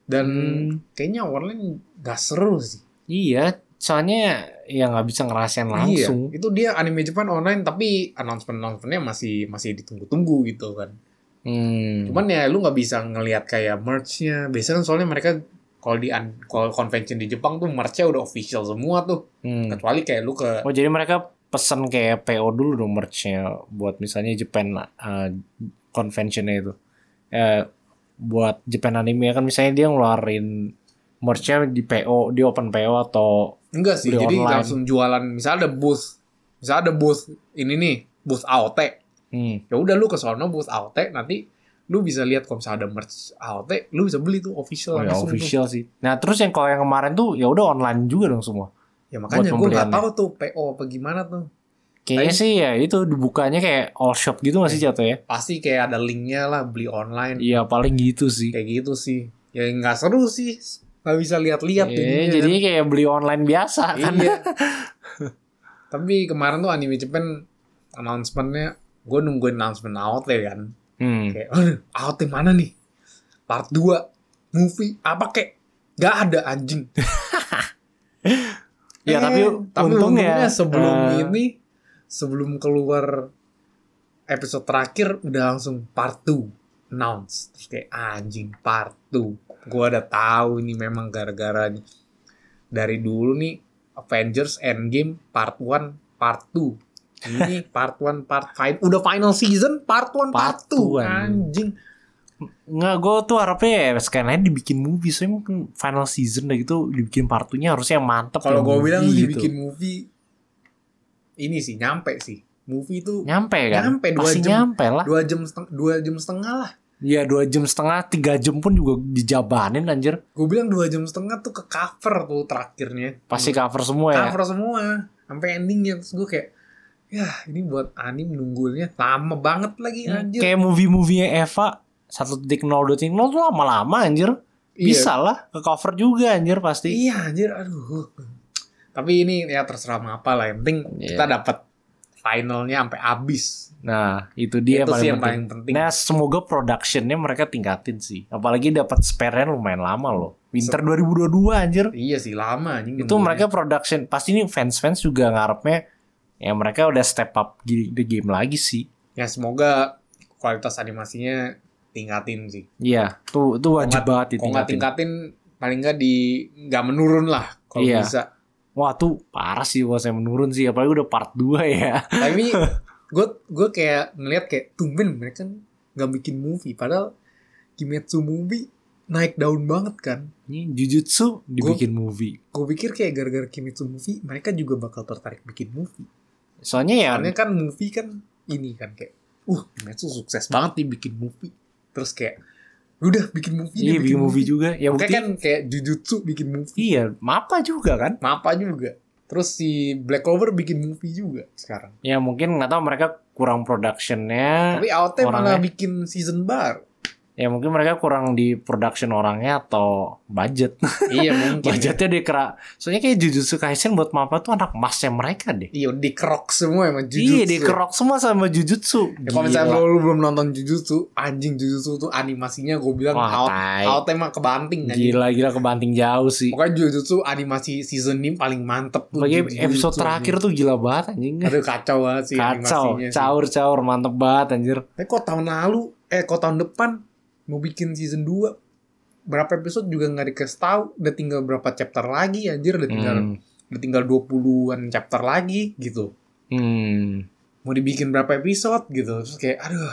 [SPEAKER 1] Dan
[SPEAKER 2] Hmm.
[SPEAKER 1] kayaknya online gak seru sih.
[SPEAKER 2] Iya, soalnya ya nggak bisa ngerasain langsung.
[SPEAKER 1] Iya, itu dia anime Jepang online tapi announcement-announcementnya masih masih ditunggu-tunggu gitu kan.
[SPEAKER 2] Hmm.
[SPEAKER 1] Cuman ya lu nggak bisa ngelihat kayak merch-nya. Biasanya kan soalnya mereka kalau di un- kalau convention di Jepang tuh merch-nya udah official semua tuh.
[SPEAKER 2] Hmm.
[SPEAKER 1] Kecuali kayak lu ke
[SPEAKER 2] Oh jadi mereka pesan kayak PO dulu dong merch-nya buat misalnya Japan eh, convention-nya itu. Eh, buat Japan anime kan misalnya dia ngeluarin merch-nya di PO, di open PO atau
[SPEAKER 1] Enggak sih,
[SPEAKER 2] Beli
[SPEAKER 1] jadi
[SPEAKER 2] online.
[SPEAKER 1] langsung jualan. Misalnya ada booth, misalnya ada booth ini nih, booth AOT.
[SPEAKER 2] hmm,
[SPEAKER 1] Ya udah lu ke sono booth AOT, nanti lu bisa lihat kalau misalnya ada merch AOT, lu bisa beli tuh official
[SPEAKER 2] oh, ya
[SPEAKER 1] langsung tuh.
[SPEAKER 2] official sih. Nah, terus yang kalau yang kemarin tuh ya udah online juga dong semua.
[SPEAKER 1] Ya makanya
[SPEAKER 2] Buat
[SPEAKER 1] gue nggak tahu
[SPEAKER 2] pembeliannya.
[SPEAKER 1] tuh PO apa gimana tuh.
[SPEAKER 2] Kayaknya sih ya itu dibukanya kayak all shop gitu
[SPEAKER 1] Iya.
[SPEAKER 2] masih jatuh ya.
[SPEAKER 1] Pasti kayak ada linknya lah beli online
[SPEAKER 2] Iya, paling gitu sih.
[SPEAKER 1] kayak gitu sih. Ya nggak seru sih, nggak bisa lihat-lihat
[SPEAKER 2] Iya,
[SPEAKER 1] jadinya kan.
[SPEAKER 2] jadinya kayak beli online biasa kan.
[SPEAKER 1] Iya. Tapi kemarin tuh anime Japan announcement-nya, gue nungguin announcement AOT kan.
[SPEAKER 2] Hmm.
[SPEAKER 1] kayak "Aduh, out yang mana nih part 2 movie apa kek gak ada anjing Eh,
[SPEAKER 2] Ya, tapi untung ya,
[SPEAKER 1] sebelum
[SPEAKER 2] eh,
[SPEAKER 1] ini sebelum keluar episode terakhir udah langsung part 2 announce Terus kayak anjing part 2 gue udah tahu ini memang gara-gara dari dulu nih Avengers Endgame part 1 part 2 ini part 1 part 5 udah final season part 1 part
[SPEAKER 2] Part
[SPEAKER 1] 2
[SPEAKER 2] 2,
[SPEAKER 1] anjing
[SPEAKER 2] Nggak, gue tuh harapnya ya sekalian aja dibikin movie Soalnya mungkin final season udah gitu Dibikin partunya harusnya yang mantep
[SPEAKER 1] Kalau
[SPEAKER 2] yang
[SPEAKER 1] gue
[SPEAKER 2] movie
[SPEAKER 1] bilang
[SPEAKER 2] gitu.
[SPEAKER 1] dibikin movie ini sih nyampe sih. Movie itu
[SPEAKER 2] Nyampe kan?
[SPEAKER 1] Nyampe, dua
[SPEAKER 2] Pasti
[SPEAKER 1] jam.
[SPEAKER 2] nyampe lah
[SPEAKER 1] dua jam setengah, dua jam setengah lah.
[SPEAKER 2] Iya 2 jam setengah 3 jam pun juga dijabanin anjir
[SPEAKER 1] Gue bilang dua jam setengah tuh ke cover tuh terakhirnya.
[SPEAKER 2] Pasti cover semua ya
[SPEAKER 1] Hmm. cover semua sampai endingnya terus gue kayak ya ini buat anim nunggunya lama banget lagi
[SPEAKER 2] Hmm,
[SPEAKER 1] iya, anjir.
[SPEAKER 2] Kayak movie-movie Eva 1.0 2.0 tuh lama-lama anjir
[SPEAKER 1] Iya.
[SPEAKER 2] Bisa lah ke cover juga anjir pasti
[SPEAKER 1] Iya anjir aduh. Tapi ini ya terserah mau apa lah yang penting
[SPEAKER 2] Iya.
[SPEAKER 1] kita dapat finalnya sampai habis.
[SPEAKER 2] Nah itu dia
[SPEAKER 1] itu sih yang
[SPEAKER 2] paling
[SPEAKER 1] paling penting.
[SPEAKER 2] penting Nah semoga productionnya mereka tingkatin sih Apalagi dapat spare-nya lumayan lama loh Winter 2022 anjir
[SPEAKER 1] Iya sih lama anjing.
[SPEAKER 2] itu
[SPEAKER 1] nunggunya.
[SPEAKER 2] mereka production pasti ini fans-fans juga ngarepnya ya mereka udah step up di the game lagi sih
[SPEAKER 1] ya semoga kualitas animasinya tingkatin sih.
[SPEAKER 2] Iya tuh itu wajib
[SPEAKER 1] nggak-
[SPEAKER 2] banget
[SPEAKER 1] Kalau nggak
[SPEAKER 2] ditingkatin
[SPEAKER 1] tingkatin paling nggak di nggak menurun lah kalau
[SPEAKER 2] Iya.
[SPEAKER 1] bisa.
[SPEAKER 2] wah tuh parah sih kalau saya menurun sih apalagi udah part 2 ya
[SPEAKER 1] Tapi gue gue kayak ngeliat kayak tumben mereka nggak bikin movie padahal Kimetsu movie naik daun banget kan.
[SPEAKER 2] ini Jujutsu dibikin movie
[SPEAKER 1] Gue pikir kayak gara-gara Kimetsu movie mereka juga bakal tertarik bikin movie.
[SPEAKER 2] soalnya ya
[SPEAKER 1] Karena kan movie kan ini kan kayak uh Kimetsu sukses banget nih bikin movie. Terus kayak udah bikin movie deh,
[SPEAKER 2] iya bikin movie juga ya
[SPEAKER 1] Kayak
[SPEAKER 2] bukti
[SPEAKER 1] kan kayak Jujutsu bikin movie.
[SPEAKER 2] iya apa juga kan
[SPEAKER 1] Mapa juga. Terus si Black Clover bikin movie juga sekarang.
[SPEAKER 2] ya mungkin nggak tahu mereka kurang productionnya
[SPEAKER 1] Tapi AOT malah
[SPEAKER 2] orangnya.
[SPEAKER 1] bikin season baru.
[SPEAKER 2] ya mungkin mereka kurang di production orangnya atau budget
[SPEAKER 1] iya mungkin.
[SPEAKER 2] budgetnya dikera soalnya kayak Jujutsu Kaisen buat Mapa tuh anak emasnya mereka deh
[SPEAKER 1] Iya, dikerok semua emang Jujutsu.
[SPEAKER 2] iya dikerok semua sama Jujutsu
[SPEAKER 1] Ya, kalau misalnya lo, lo belum nonton Jujutsu, anjing Jujutsu tuh animasinya gue bilang
[SPEAKER 2] Wah,
[SPEAKER 1] out,
[SPEAKER 2] tai.
[SPEAKER 1] out emang kebanting kan.
[SPEAKER 2] gila gila kebanting jauh
[SPEAKER 1] Iya.
[SPEAKER 2] sih
[SPEAKER 1] Pokoknya Jujutsu animasi season ini paling mantep. tuh
[SPEAKER 2] bagi
[SPEAKER 1] Jujutsu.
[SPEAKER 2] episode terakhir tuh gila banget anjing
[SPEAKER 1] Aduh kacau banget sih
[SPEAKER 2] kacau
[SPEAKER 1] animasinya. sih.
[SPEAKER 2] caur caur mantep banget anjir
[SPEAKER 1] Tapi kok tahun lalu, eh kok tahun depan mau bikin season 2 berapa episode juga nggak dikasih tahu udah tinggal berapa chapter lagi anjir udah tinggal
[SPEAKER 2] hmm.
[SPEAKER 1] udah tinggal 20-an chapter lagi gitu
[SPEAKER 2] Hmm.
[SPEAKER 1] mau dibikin berapa episode gitu terus kayak aduh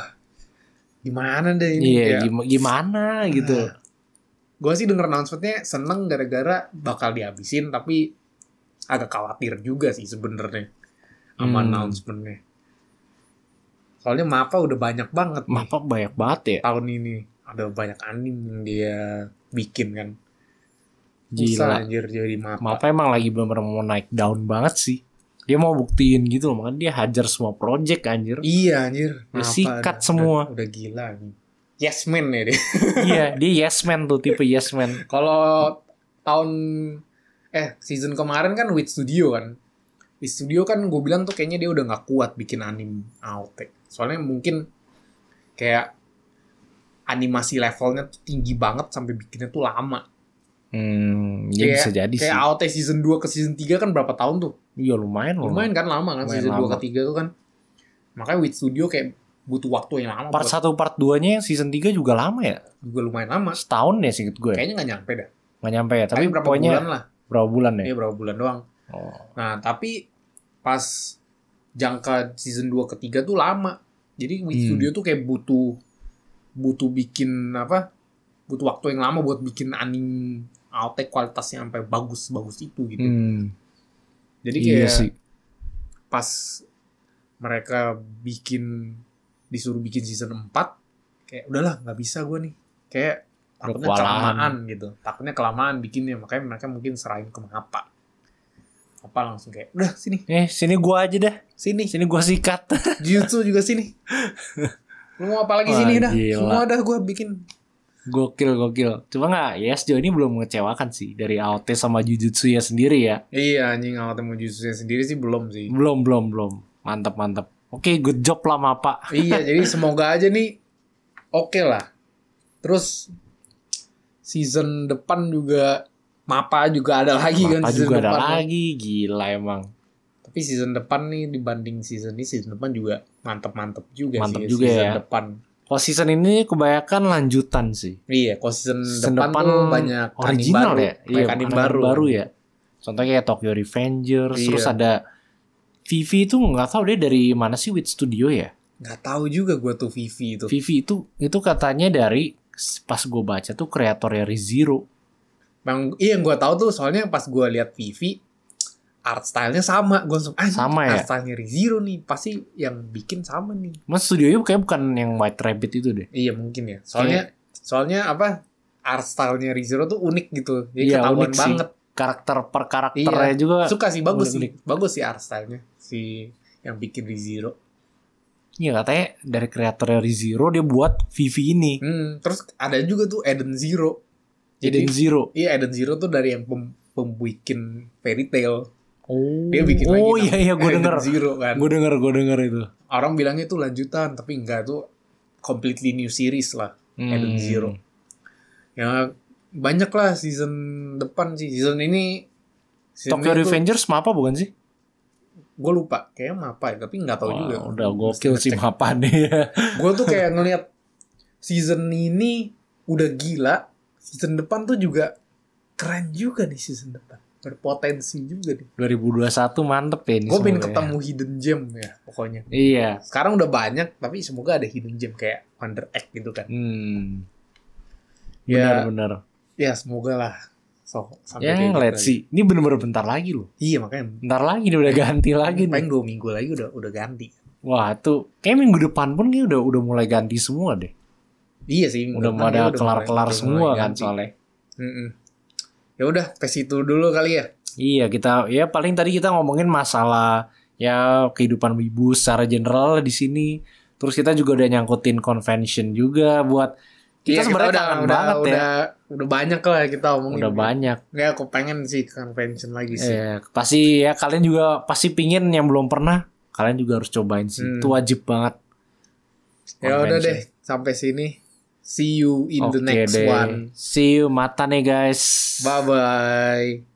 [SPEAKER 1] gimana deh ini ya.
[SPEAKER 2] iya
[SPEAKER 1] Kayak-
[SPEAKER 2] gim- gimana gitu
[SPEAKER 1] gue sih denger announcementnya seneng gara-gara bakal dihabisin tapi agak khawatir juga sih sebenarnya sama
[SPEAKER 2] Hmm.
[SPEAKER 1] announcementnya soalnya Mapa udah banyak banget nih
[SPEAKER 2] Mapa banyak banget ya
[SPEAKER 1] tahun ini ada banyak anime yang dia bikin kan
[SPEAKER 2] gila
[SPEAKER 1] Susah anjir jadi Mapa,
[SPEAKER 2] Mapa emang lagi bener-bener mau naik down banget sih dia mau buktiin gitu loh makanya dia hajar semua project anjir
[SPEAKER 1] iya anjir
[SPEAKER 2] Dia
[SPEAKER 1] Mappa
[SPEAKER 2] sikat
[SPEAKER 1] udah-
[SPEAKER 2] semua.
[SPEAKER 1] udah, udah gila nih yes man ya dia
[SPEAKER 2] iya dia yes man tuh tipe yes man
[SPEAKER 1] kalau tahun eh season kemarin kan Wit Studio kan Wit Studio kan gue bilang tuh kayaknya dia udah nggak kuat bikin anime AOT soalnya mungkin kayak animasi levelnya tuh tinggi banget sampai bikinnya tuh lama
[SPEAKER 2] hmm dia
[SPEAKER 1] Kayak-
[SPEAKER 2] bisa jadi
[SPEAKER 1] Iya, kayak
[SPEAKER 2] sih
[SPEAKER 1] AOT season 2 ke season 3 kan berapa tahun tuh
[SPEAKER 2] iya lumayan loh
[SPEAKER 1] lumayan kan lama kan
[SPEAKER 2] Lumayan
[SPEAKER 1] season 2
[SPEAKER 2] lama.
[SPEAKER 1] ke 3 tuh kan makanya Wit Studio kayak butuh waktu yang lama
[SPEAKER 2] part
[SPEAKER 1] buat
[SPEAKER 2] 1 part 2 nya yang season 3 juga lama ya
[SPEAKER 1] juga lumayan lama
[SPEAKER 2] setahun ya singkat gue
[SPEAKER 1] kayaknya nggak nyampe dah
[SPEAKER 2] nggak nyampe ya tapi
[SPEAKER 1] Kayaknya berapa
[SPEAKER 2] pokoknya
[SPEAKER 1] bulan lah
[SPEAKER 2] berapa bulan ya
[SPEAKER 1] Iya berapa bulan doang
[SPEAKER 2] oh.
[SPEAKER 1] Nah, tapi pas jangka season 2 ketiga tuh lama. Jadi Wit
[SPEAKER 2] Hmm.
[SPEAKER 1] Studio tuh kayak butuh butuh bikin apa? Butuh waktu yang lama buat bikin anime AOT kualitasnya sampai bagus-bagus itu gitu.
[SPEAKER 2] Hmm,
[SPEAKER 1] Jadi kayak
[SPEAKER 2] iya sih
[SPEAKER 1] pas mereka bikin disuruh bikin season 4 kayak udahlah nggak bisa gua nih. Kayak takutnya
[SPEAKER 2] kewalahan.
[SPEAKER 1] kelamaan gitu. Takutnya kelamaan bikinnya makanya mereka mungkin serahin ke apa. Apa langsung kayak udah sini,
[SPEAKER 2] eh sini gua aja deh
[SPEAKER 1] sini.
[SPEAKER 2] sini gua sikat
[SPEAKER 1] Jujutsu juga sini. Lu mau apa lagi
[SPEAKER 2] Wah,
[SPEAKER 1] sini dah?
[SPEAKER 2] gila.
[SPEAKER 1] Semua dah gue bikin.
[SPEAKER 2] Gokil, gokil. Cuma nggak, ya sejauh ini belum mengecewakan sih dari AOT sama Jujutsu ya sendiri ya.
[SPEAKER 1] Iya anjing awal temu Jujutsu sendiri sih belum sih.
[SPEAKER 2] Belum, belum, belum. Mantap, mantap. Oke, good job lah Mapa.
[SPEAKER 1] iya jadi semoga aja nih oke lah. Terus season depan juga Mapa juga ada lagi kan
[SPEAKER 2] Mapa
[SPEAKER 1] season
[SPEAKER 2] juga ada
[SPEAKER 1] depan.
[SPEAKER 2] lagi, gila emang.
[SPEAKER 1] Tapi season depan nih dibanding season ini season depan juga mantep-mantep juga
[SPEAKER 2] Mantep
[SPEAKER 1] sih
[SPEAKER 2] juga
[SPEAKER 1] season
[SPEAKER 2] ya.
[SPEAKER 1] depan.
[SPEAKER 2] Kalau season ini kebanyakan lanjutan sih.
[SPEAKER 1] Iya, kalau season,
[SPEAKER 2] Season
[SPEAKER 1] depan,
[SPEAKER 2] depan
[SPEAKER 1] tuh banyak anime
[SPEAKER 2] Original
[SPEAKER 1] baru,
[SPEAKER 2] ya?
[SPEAKER 1] banyak
[SPEAKER 2] iya,
[SPEAKER 1] anime
[SPEAKER 2] anime
[SPEAKER 1] baru.
[SPEAKER 2] ya. Contohnya kayak Tokyo Revengers,
[SPEAKER 1] Iya.
[SPEAKER 2] terus ada Vivi itu nggak tahu dia dari mana sih With Studio ya.
[SPEAKER 1] Gak tahu juga gue tuh Vivi itu.
[SPEAKER 2] Vivi itu itu katanya dari pas gue baca tuh kreatornya Rizero.
[SPEAKER 1] Bang, iya yang gue tahu tuh soalnya pas gue lihat Vivi art stylenya sama, gue langsung ah
[SPEAKER 2] Sama ya?
[SPEAKER 1] art stylenya Rizero nih pasti yang bikin sama nih.
[SPEAKER 2] Mas studionya kayaknya bukan yang White Rabbit itu deh.
[SPEAKER 1] Iya mungkin ya. Soalnya
[SPEAKER 2] Iya.
[SPEAKER 1] soalnya apa art stylenya Rizero tuh unik gitu, jadi
[SPEAKER 2] Iya,
[SPEAKER 1] ketahuan
[SPEAKER 2] unik sih.
[SPEAKER 1] banget. Iya.
[SPEAKER 2] Karakter per karakternya juga.
[SPEAKER 1] Suka sih bagus
[SPEAKER 2] unik-unik.
[SPEAKER 1] sih, bagus sih art stylenya si yang bikin Rizero.
[SPEAKER 2] Iya katanya dari kreatornya Rizero dia buat Vivi ini.
[SPEAKER 1] Hmm, terus ada juga tuh Eden Zero.
[SPEAKER 2] Jadi
[SPEAKER 1] Jadi
[SPEAKER 2] Zero.
[SPEAKER 1] iya Eden Zero tuh dari yang pem pembikin Fairy Tail.
[SPEAKER 2] Oh.
[SPEAKER 1] Dia bikin lagi.
[SPEAKER 2] oh
[SPEAKER 1] namanya
[SPEAKER 2] iya iya gue
[SPEAKER 1] Eden
[SPEAKER 2] denger.
[SPEAKER 1] Zero kan.
[SPEAKER 2] Gue denger gue denger itu.
[SPEAKER 1] orang bilangnya itu lanjutan tapi enggak tuh completely new series lah Eden
[SPEAKER 2] Hmm.
[SPEAKER 1] Zero. ya banyak lah season depan sih season ini season
[SPEAKER 2] Tokyo Revengers apa bukan sih?
[SPEAKER 1] gue lupa kayaknya mapa ya tapi nggak tahu
[SPEAKER 2] Wah,
[SPEAKER 1] juga
[SPEAKER 2] Udah gokil sih apa nih.
[SPEAKER 1] gue tuh kayak ngelihat season ini udah gila season depan tuh juga keren juga nih season depan berpotensi juga nih
[SPEAKER 2] 2021 mantep ya ini.
[SPEAKER 1] gue pengen
[SPEAKER 2] semuanya.
[SPEAKER 1] ketemu hidden gem ya pokoknya
[SPEAKER 2] Iya.
[SPEAKER 1] sekarang udah banyak tapi semoga ada hidden gem kayak Wonder Egg gitu kan
[SPEAKER 2] Hmm.
[SPEAKER 1] Ya.
[SPEAKER 2] Benar-benar.
[SPEAKER 1] ya semoga lah so sampai
[SPEAKER 2] Ya,
[SPEAKER 1] kayak gitu
[SPEAKER 2] let's
[SPEAKER 1] lagi.
[SPEAKER 2] see. Ini bener-bener bentar lagi loh.
[SPEAKER 1] Iya makanya
[SPEAKER 2] Bentar lagi nih
[SPEAKER 1] Iya.
[SPEAKER 2] udah ganti lagi nih.
[SPEAKER 1] paling dua minggu lagi udah udah ganti.
[SPEAKER 2] Wah tuh kayak minggu depan pun kayak udah udah mulai ganti semua deh.
[SPEAKER 1] Iya sih.
[SPEAKER 2] Udah
[SPEAKER 1] minggu
[SPEAKER 2] mau
[SPEAKER 1] depan
[SPEAKER 2] ada
[SPEAKER 1] dia udah
[SPEAKER 2] kelar-kelar
[SPEAKER 1] mulai- udah
[SPEAKER 2] semua
[SPEAKER 1] mulai
[SPEAKER 2] kan
[SPEAKER 1] ganti.
[SPEAKER 2] soalnya.
[SPEAKER 1] Mm-mm. Ya udah tes itu dulu kali ya.
[SPEAKER 2] Iya kita ya paling tadi kita ngomongin masalah ya kehidupan ibu secara general di sini. Terus kita juga udah nyangkutin convention juga buat Kita
[SPEAKER 1] Iya,
[SPEAKER 2] sebenarnya
[SPEAKER 1] udah,
[SPEAKER 2] kangen
[SPEAKER 1] udah,
[SPEAKER 2] banget ya.
[SPEAKER 1] udah, udah banyak lah kita omongin.
[SPEAKER 2] Udah banyak.
[SPEAKER 1] Ya aku pengen sih convention lagi sih.
[SPEAKER 2] Eh, pasti ya kalian juga pasti pingin yang belum pernah. Kalian juga harus cobain sih.
[SPEAKER 1] Hmm.
[SPEAKER 2] Itu wajib banget.
[SPEAKER 1] ya udah
[SPEAKER 2] Convention.
[SPEAKER 1] deh, sampai sini. See you in the
[SPEAKER 2] Oke
[SPEAKER 1] next
[SPEAKER 2] deh.
[SPEAKER 1] one.
[SPEAKER 2] See you mata nih guys.
[SPEAKER 1] Bye bye.